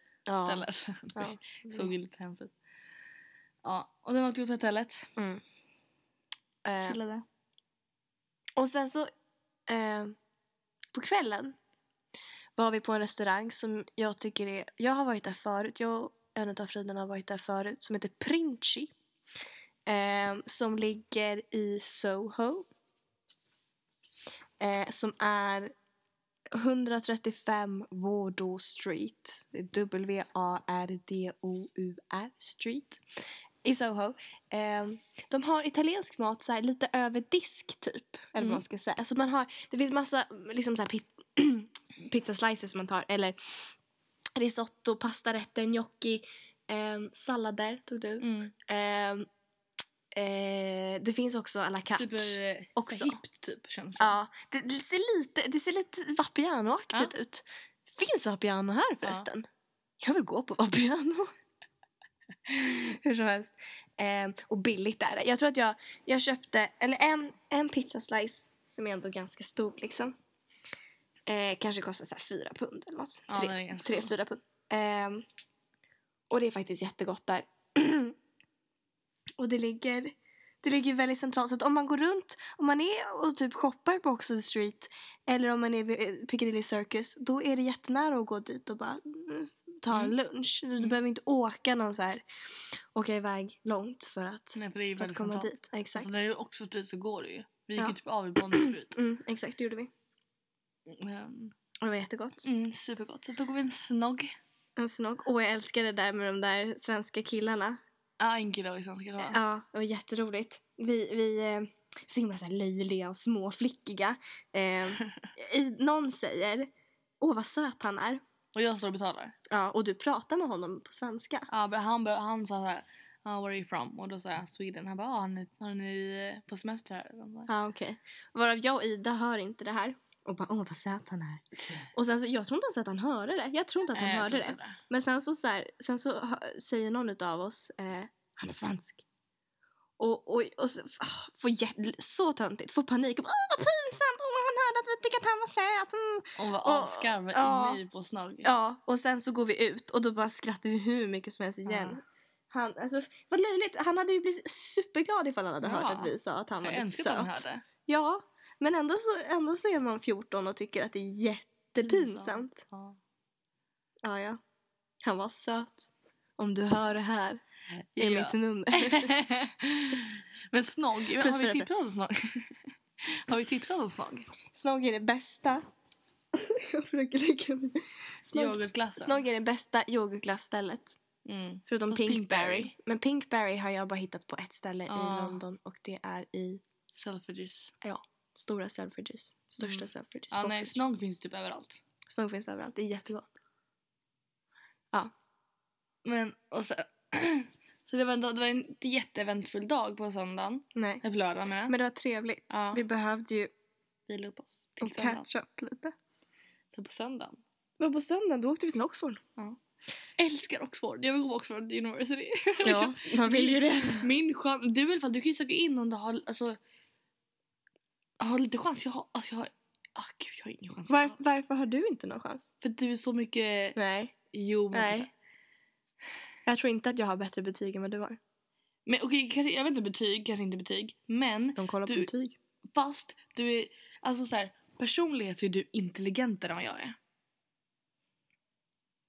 S2: Ja.
S1: det
S2: Ja.
S1: såg ju lite hemskt ut. Ja, och den åkte vi till hotellet.
S2: Mm. Eh,
S1: Chillade.
S2: och sen så eh, på kvällen var vi på en restaurang som jag tycker är... Jag har varit där förut. Jag och en av fridarna har varit där förut som heter Princi. Eh, som ligger i Soho. Eh, som är 135 Wardour Street. W-A-R-D-O-U-R Street. I Soho. Eh, de har italiensk mat så här, lite över disk typ. Eller vad
S1: Mm.
S2: man ska säga. Alltså man har, det finns massa liksom så här, pit, pizzaslices som man tar. Eller risotto, pastarätter, gnocchi, eh, sallader tog du.
S1: Mm.
S2: Ehm, eh, det finns också à la carte.
S1: Super eh,
S2: Också.
S1: så här hippt typ känns det.
S2: Ja, det, det ser lite, det ser lite Vapiano-aktigt ut. Finns Vapiano här förresten? Jag vill gå på Vapiano. Hur som helst. Ehm, och billigt är det. Jag tror att jag, jag köpte, eller en, en pizzaslice som är ändå ganska stor liksom. Eh, kanske kostar så här fyra pund eller något.
S1: Ja,
S2: Tre-
S1: den är ganska
S2: tre
S1: stor.
S2: fyra pund. Ehm, och det är faktiskt jättegott där. och det ligger, det ligger väldigt centralt. Så att om man går runt, om man är och typ shoppar på Oxford Street eller om man är vid eh, Piccadilly Circus, då är det jättenära att gå dit och bara mm, ta en
S1: Mm.
S2: lunch. Du
S1: Mm.
S2: behöver inte åka någon så här, åka iväg långt för att,
S1: Nej, för det är ju
S2: för att
S1: väldigt
S2: komma
S1: centralt.
S2: dit. Ja, Exakt.
S1: Alltså när det är Oxford Street så går det ju. Vi gick
S2: Ja.
S1: ju typ av i Bond Street.
S2: Mm, exakt, det gjorde vi.
S1: Mm.
S2: Och det var jättegott.
S1: Mm, supergott. Så tog vi en snog.
S2: En snog. Och jag älskar det där med de där svenska killarna.
S1: Ja, en kille och sen ska det vara.
S2: Ja, det var jätteroligt. Vi, vi eh, så himla så här löjliga och småflickiga. Eh, i, någon säger, åh vad söt han är.
S1: Och jag står och betalar.
S2: Ja, och du pratar med honom på svenska.
S1: Ja, men han, bör, han sa såhär, ah, where are you from? Och då sa jag Sweden. Han bara, ah, har, ni, har ni eh, på semester här? Och jag bara,
S2: Ja, okej. Varav jag och Ida hör inte det här. Och bara, åh vad söt han är. Och sen så, jag tror inte ens att han hörde det. Jag tror inte att han
S1: "Eh, jag
S2: hörde
S1: tror
S2: det.
S1: inte
S2: Men sen så, så, här, sen så hö- säger någon utav oss, eh, han är svensk. Och, och, och så, ah, får jä- så töntigt, får panik. Och bara, Åh, vad pinsamt! Åh, han hörde att vi tyckte att han var söt. Mm.
S1: Och
S2: Och-
S1: var asgarv och
S2: ja.
S1: inne i på snog.
S2: Ja, och sen så går vi ut och då bara skrattar vi hur mycket som helst igen.
S1: Ja.
S2: Han, alltså, vad löjligt. Han hade ju blivit superglad ifall han hade
S1: Ja.
S2: hört att vi sa att han var
S1: jag
S2: lite
S1: önskar att hon
S2: söt.
S1: hörde.
S2: Ja, men ändå så, ändå så är man 14 och tycker att det är jättepinsamt.
S1: Pinsamt. Ja.
S2: Ja, ja. Han var söt. Om du hör det här är
S1: Ja.
S2: mitt nummer.
S1: Men snog,
S2: Plus
S1: har
S2: fyra
S1: vi tipsat om snog? har vi tipsat om snog?
S2: Snog är det bästa. Jag försöker lägga mig. Snog,
S1: Yoghurtglassen?
S2: snog är det bästa yoghurtglassstället.
S1: Mm.
S2: Förutom
S1: Fast
S2: Pinkberry.
S1: Pinkberry.
S2: Men Pinkberry har jag bara hittat på ett ställe i
S1: Ah.
S2: London och det är i
S1: Selfridges.
S2: stora Selfridges. Största
S1: Mm.
S2: Selfridges.
S1: Ja, nej,
S2: Boxers.
S1: snog finns typ överallt.
S2: Snog finns överallt. Det är jättegott.
S1: Men, och så... så det var, en, dag- det var en jätteeventfull dag på söndagen.
S2: Nej.
S1: Eller på lördagen menar jag.
S2: Men det var trevligt.
S1: Ja.
S2: Vi behövde ju
S1: Vila upp oss. Till
S2: och
S1: söndagen.
S2: catch up lite.
S1: För på söndagen.
S2: Men på söndagen då åkte vi till Oxford.
S1: Älskar Oxford. Jag vill gå på Oxford University.
S2: Ja, man vill ju det.
S1: Min chans... Du i alla fall, du kan ju söka in om du har... Alltså... Har lite chans. Jag har... Alltså jag har... Ah, gud, jag har ingen chans.
S2: Varför, varför har du inte någon chans?
S1: För du är så mycket...
S2: Nej.
S1: Jo, men...
S2: Nej.
S1: kanske-
S2: Jag tror inte att jag har bättre betyg än vad du har.
S1: Men okej, kanske, jag vet inte betyg, kanske inte betyg. Men
S2: De kollar på
S1: Du-
S2: betyg.
S1: fast du är... Alltså så här, personlighet så är du intelligentare än vad jag är.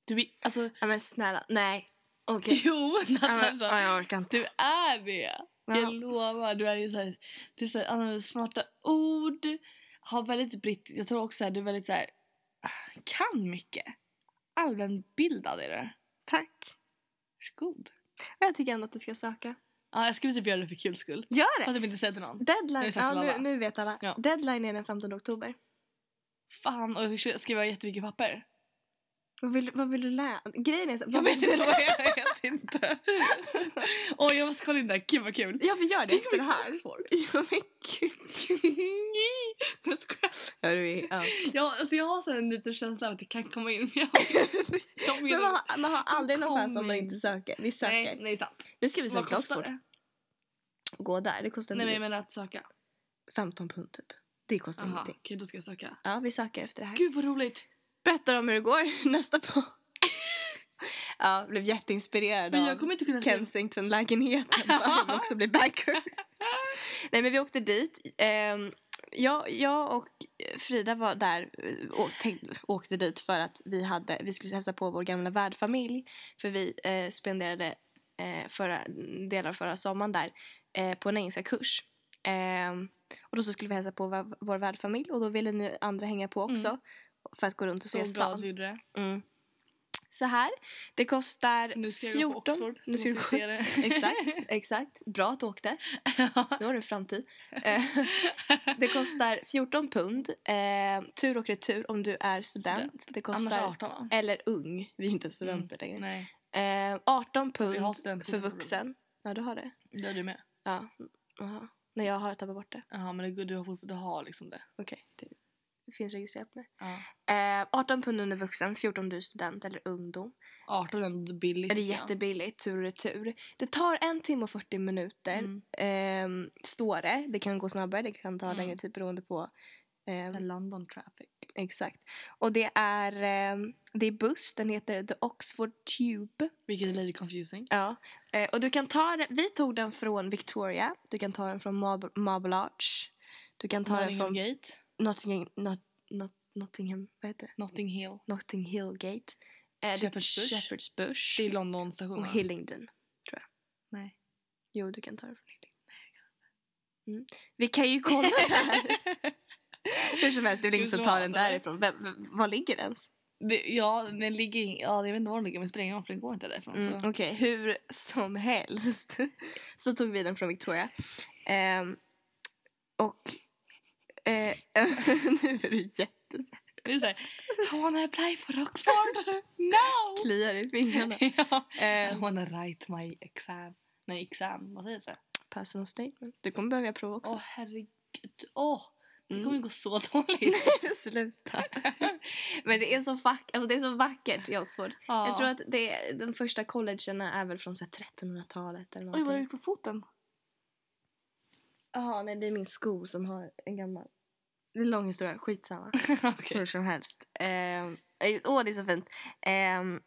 S1: Du är... Alltså...
S2: Ja, men snälla. Nej. Okej.
S1: Jo,
S2: Ja, men-
S1: Natasha.
S2: ja, jag orkar inte.
S1: Du är det! Jag
S2: Ja.
S1: lovar. Du är ju såhär, du så här, använder smarta ord. Har väldigt britt, jag tror också att du är väldigt såhär, kan mycket. Allmänbildad är du.
S2: Tack.
S1: Varsågod.
S2: Jag tycker ändå att du ska söka.
S1: Ja, jag skulle typ göra det för kul skull.
S2: Gör
S1: Fast jag vill inte säga till någon.
S2: Deadline,
S1: Nu satt
S2: ja,
S1: alla.
S2: nu, nu vet alla.
S1: Ja.
S2: Deadline är den 15 oktober.
S1: Fan, och jag ska skriva jättemycket papper.
S2: Vad vill, vad vill du lära Grejen är så...
S1: Jag
S2: Vad
S1: vet
S2: vill du
S1: inte,
S2: lä-
S1: vad jag vet inte. Åh, jag måste kolla in det här. Gud vad kul.
S2: Ja, vi gör det
S1: Tänk
S2: efter det
S1: vad
S2: här.
S1: svårt.
S2: Ja, men gud.
S1: Jag skojar.
S2: Ja, du är... Ja.
S1: Ja, alltså jag har så här en liten känsla av att det kan komma in. Men jag, jag
S2: Men man, har, man har aldrig någon
S1: Kom
S2: chans om man
S1: in.
S2: inte söker. Vi söker.
S1: Nej, nej, sant.
S2: Nu ska vi
S1: Vad
S2: söka
S1: kostar
S2: Oxford.
S1: det?
S2: Gå där. Det kostar
S1: Nej, men
S2: nej,
S1: jag menar att söka.
S2: 15 pund typ. Det kostar
S1: Aha,
S2: ingenting.
S1: okej då ska jag söka.
S2: Ja, vi söker efter det här.
S1: Gud vad roligt!
S2: Berättar om hur det går nästa på. ja, blev jätteinspirerad
S1: Men
S2: av
S1: jag kommer inte
S2: Alltså,
S1: kunna skriva.
S2: Kensington-lägenheten. där hon också blir backer. Nej, men vi åkte dit. Ehm, jag, jag och Frida var där eh, och tänkte, åkte dit för att vi, hade, vi skulle hälsa på vår gamla värdfamilj. För vi eh, spenderade eh, förra, delar av förra sommaren där eh, på en engelska kurs. Eh, och då så skulle vi hälsa på va- vår värdfamilj och då ville ni andra hänga på också.
S1: Mm.
S2: För att gå runt och
S1: Så
S2: se
S1: bra att
S2: stan.
S1: vi gjorde det.
S2: Mm. Så här, det kostar
S1: Nu ska
S2: 14...
S1: jag gå på Oxford.
S2: nu
S1: så
S2: ska du
S1: måste
S2: gå-
S1: jag se det.
S2: Exakt, exakt. Bra att du åkte. Nu har du framtid. Eh, det kostar 14 pund eh, tur och retur om du är student.
S1: Student.
S2: Det
S1: Annars
S2: kostar,
S1: 18 va?
S2: eller ung, vi är inte studenter längre.
S1: Nej,
S2: Eh, 18
S1: jag har
S2: pund
S1: student-
S2: för vuxen. Ja, du har det.
S1: det är du med.
S2: Ja. Aha. Nej, jag har tappat bort det.
S1: Jaha men det, du har fortfarande du har liksom det.
S2: Okej, det- det finns registrerat med.
S1: Ja.
S2: Eh, 18 pund under vuxen, 14 om du är student eller ungdom.
S1: 18 är ändå billigt.
S2: Det är
S1: tycker jag.
S2: jättebilligt, tur och retur. Det tar en timme och 40 minuter.
S1: Mm.
S2: Ehm, står det. Det kan gå snabbare, det kan ta
S1: Mm.
S2: längre tid beroende på. ehm,
S1: Det är Mm. London traffic.
S2: Exakt. Och det är, ehm, det är buss, den heter The Oxford Tube.
S1: Vilket är lite confusing.
S2: Ja. Eh, och du kan ta den, vi tog den från Victoria, du kan ta den från Marble, Marble Arch, du kan ta den
S1: Nottingham
S2: från
S1: Gate.
S2: Nottingham, not, not, Nottingham, vad heter det?
S1: Notting Hill.
S2: Notting Hill Gate. Eh, du-
S1: Shepherd's Bush.
S2: Shepherd's Bush.
S1: Det är London stationen.
S2: och Hillingdon.
S1: Nej.
S2: Jo, du kan ta det från Hillingdon. Mm. Vi kan ju kolla det här. Hur som helst, det är väl ingen som tar den därifrån. Vem, vem, var ligger den?
S1: Det, ja, den ligger i- Ja, jag vet inte var den ligger men det spelar ingen roll för den går inte därifrån.
S2: Mm,
S1: Så.
S2: Okej, hur som helst så tog vi den från Victoria. Ehm, och... eh, nu är du jättesär.
S1: Det är såhär, I wanna apply for Oxford! no!
S2: Kliar i fingrarna.
S1: ja. I
S2: Um,
S1: wanna write my exam. Nej, exam. Vad säger jag?
S2: personal statement. Du kommer behöva göra prov också.
S1: Åh, herregud. Åh, det
S2: Mm.
S1: kommer ju gå så dåligt.
S2: Sluta. Men det är, så fack, alltså det är så vackert i Oxford.
S1: ja.
S2: Jag tror att det, de första collegena är väl från så här 1300-talet eller
S1: Oj, vad har jag
S2: någonting.
S1: gjort på foten?
S2: Jaha, nej det är min sko som har en gammal... Det är en lång historia, skitsamma.
S1: Okej.
S2: Hur som helst. Ehm, eh, Åh, det är så fint. Ehm,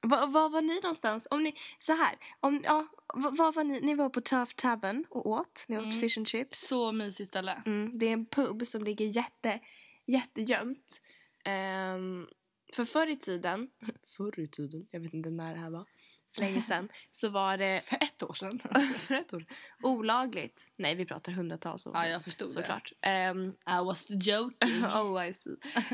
S2: va- var var ni någonstans? Om ni, så här, om, ja, va- var var ni? Ni var på Turf Tavern och åt. Ni åt
S1: Mm.
S2: fish and chips.
S1: Så mysigt ställe.
S2: Mm, det är en pub som ligger jätte, jättegömt. Um, för förr i tiden, förr i tiden, jag vet inte när det här var, för länge sedan, så var det
S1: För ett år sedan.
S2: för ett år olagligt. Nej, vi pratar hundratals år.
S1: ja, jag förstod
S2: såklart. Ehm,
S1: det. I was joking.
S2: oh, I see.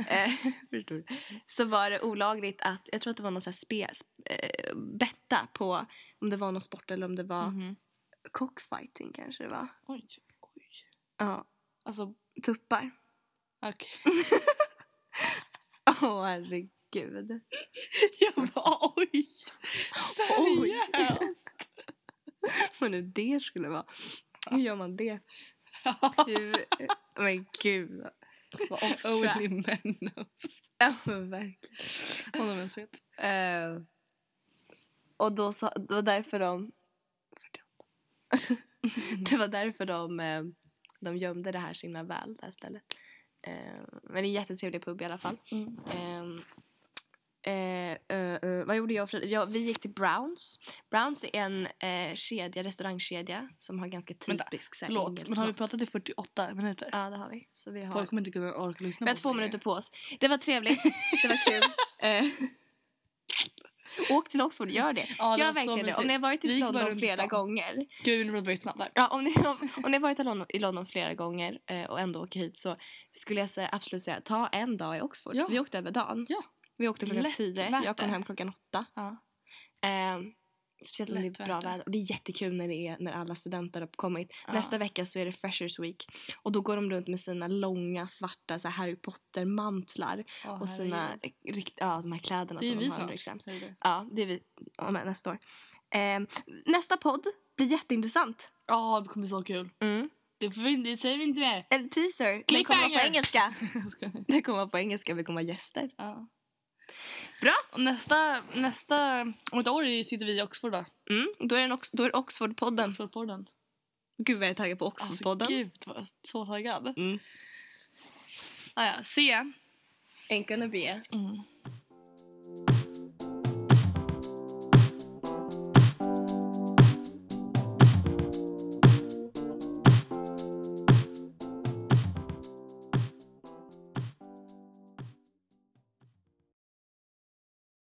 S2: Eh, förstår du. så var det olagligt att, jag tror att det var någon sån här spe, sp- eh, betta på om det var någon sport eller om det var
S1: Mhm.
S2: cockfighting kanske det var.
S1: Oj, oj.
S2: Ja,
S1: Alltså,
S2: tuppar.
S1: okej.
S2: Åh herregud.
S1: Jag bara oj! Seriöst?
S2: Vad nu det skulle vara. Hur gör man det? Hur? Men gud. Vad off track.
S1: Only men knows.
S2: Ja, men verkligen.
S1: Honom ens vet.
S2: Eh, och då sa, det var därför de... 48. det var därför de, eh, de gömde det här så himla väl, det här stället. Eh, men det är en jättetrevlig pub i alla fall.
S1: Mm.
S2: Ehm, eh, eh, eh, vad gjorde jag och Frida? Ja, vi gick till Browns. Browns är en eh, kedja, restaurangkedja som har ganska
S1: Vänta,
S2: typisk... så här
S1: Förlåt,
S2: engelsk
S1: men har vi
S2: mat.
S1: pratat i 48 minuter?
S2: Ja, det har vi. Så vi har...
S1: Folk kommer inte kunna orka lyssna
S2: Vi har två
S1: det.
S2: minuter på oss. Det var trevligt. Det var kul. Eh, Åk till Oxford, gör det.
S1: Ja, det
S2: gör
S1: var så
S2: verkligen det.
S1: mysigt.
S2: Om ni har varit
S1: Vi
S2: i
S1: gick bara
S2: London
S1: runt i
S2: flera
S1: stan.
S2: gånger.
S1: Gud, vi pratar väldigt snabbt där.
S2: Ja, om, ni, om, om ni har varit i London, i London flera gånger eh, och ändå åker hit så skulle jag säga, absolut säga ta en dag i Oxford.
S1: Ja.
S2: Vi åkte över dagen.
S1: Ja.
S2: Vi åkte klockan
S1: Lätt
S2: tio.
S1: värt
S2: Jag kom
S1: det.
S2: hem klockan åtta.
S1: Ja.
S2: Eh, speciellt om
S1: Lätt
S2: det är
S1: värt
S2: bra
S1: det.
S2: väder. Och det är jättekul när, det är, när alla studenter har kommit.
S1: Ja.
S2: Nästa vecka så är det Freshers Week. Och då går de runt med sina långa svarta så här Harry Potter-mantlar
S1: Åh,
S2: och sina
S1: herregud.
S2: rikt, ja, de här kläderna
S1: Det är
S2: som de
S1: vi
S2: har under
S1: snart.
S2: exams.
S1: säger du.
S2: Ja, det är vi ja, men nästa år. Ehm, nästa podd blir jätteintressant.
S1: Ja, det kommer bli så kul. Det, får vi, inte- det säger vi inte mer.
S2: En teaser. Den kommer vara på
S1: Cliffhanger!
S2: engelska.
S1: Jag skojar.
S2: Den kommer vara på engelska. Vi kommer ha gäster.
S1: ja.
S2: Bra.
S1: Och nästa, nästa... Om ett år sitter vi i Oxford då.
S2: Mm, då är, den också, då är det Oxfordpodden.
S1: Oxfordpodden.
S2: Gud vad jag är taggad på
S1: Alltså,
S2: Oxfordpodden.
S1: gud, vad jag är så taggad.
S2: Mm.
S1: Ah, ja, se.
S2: Ain't gonna be.
S1: Mm.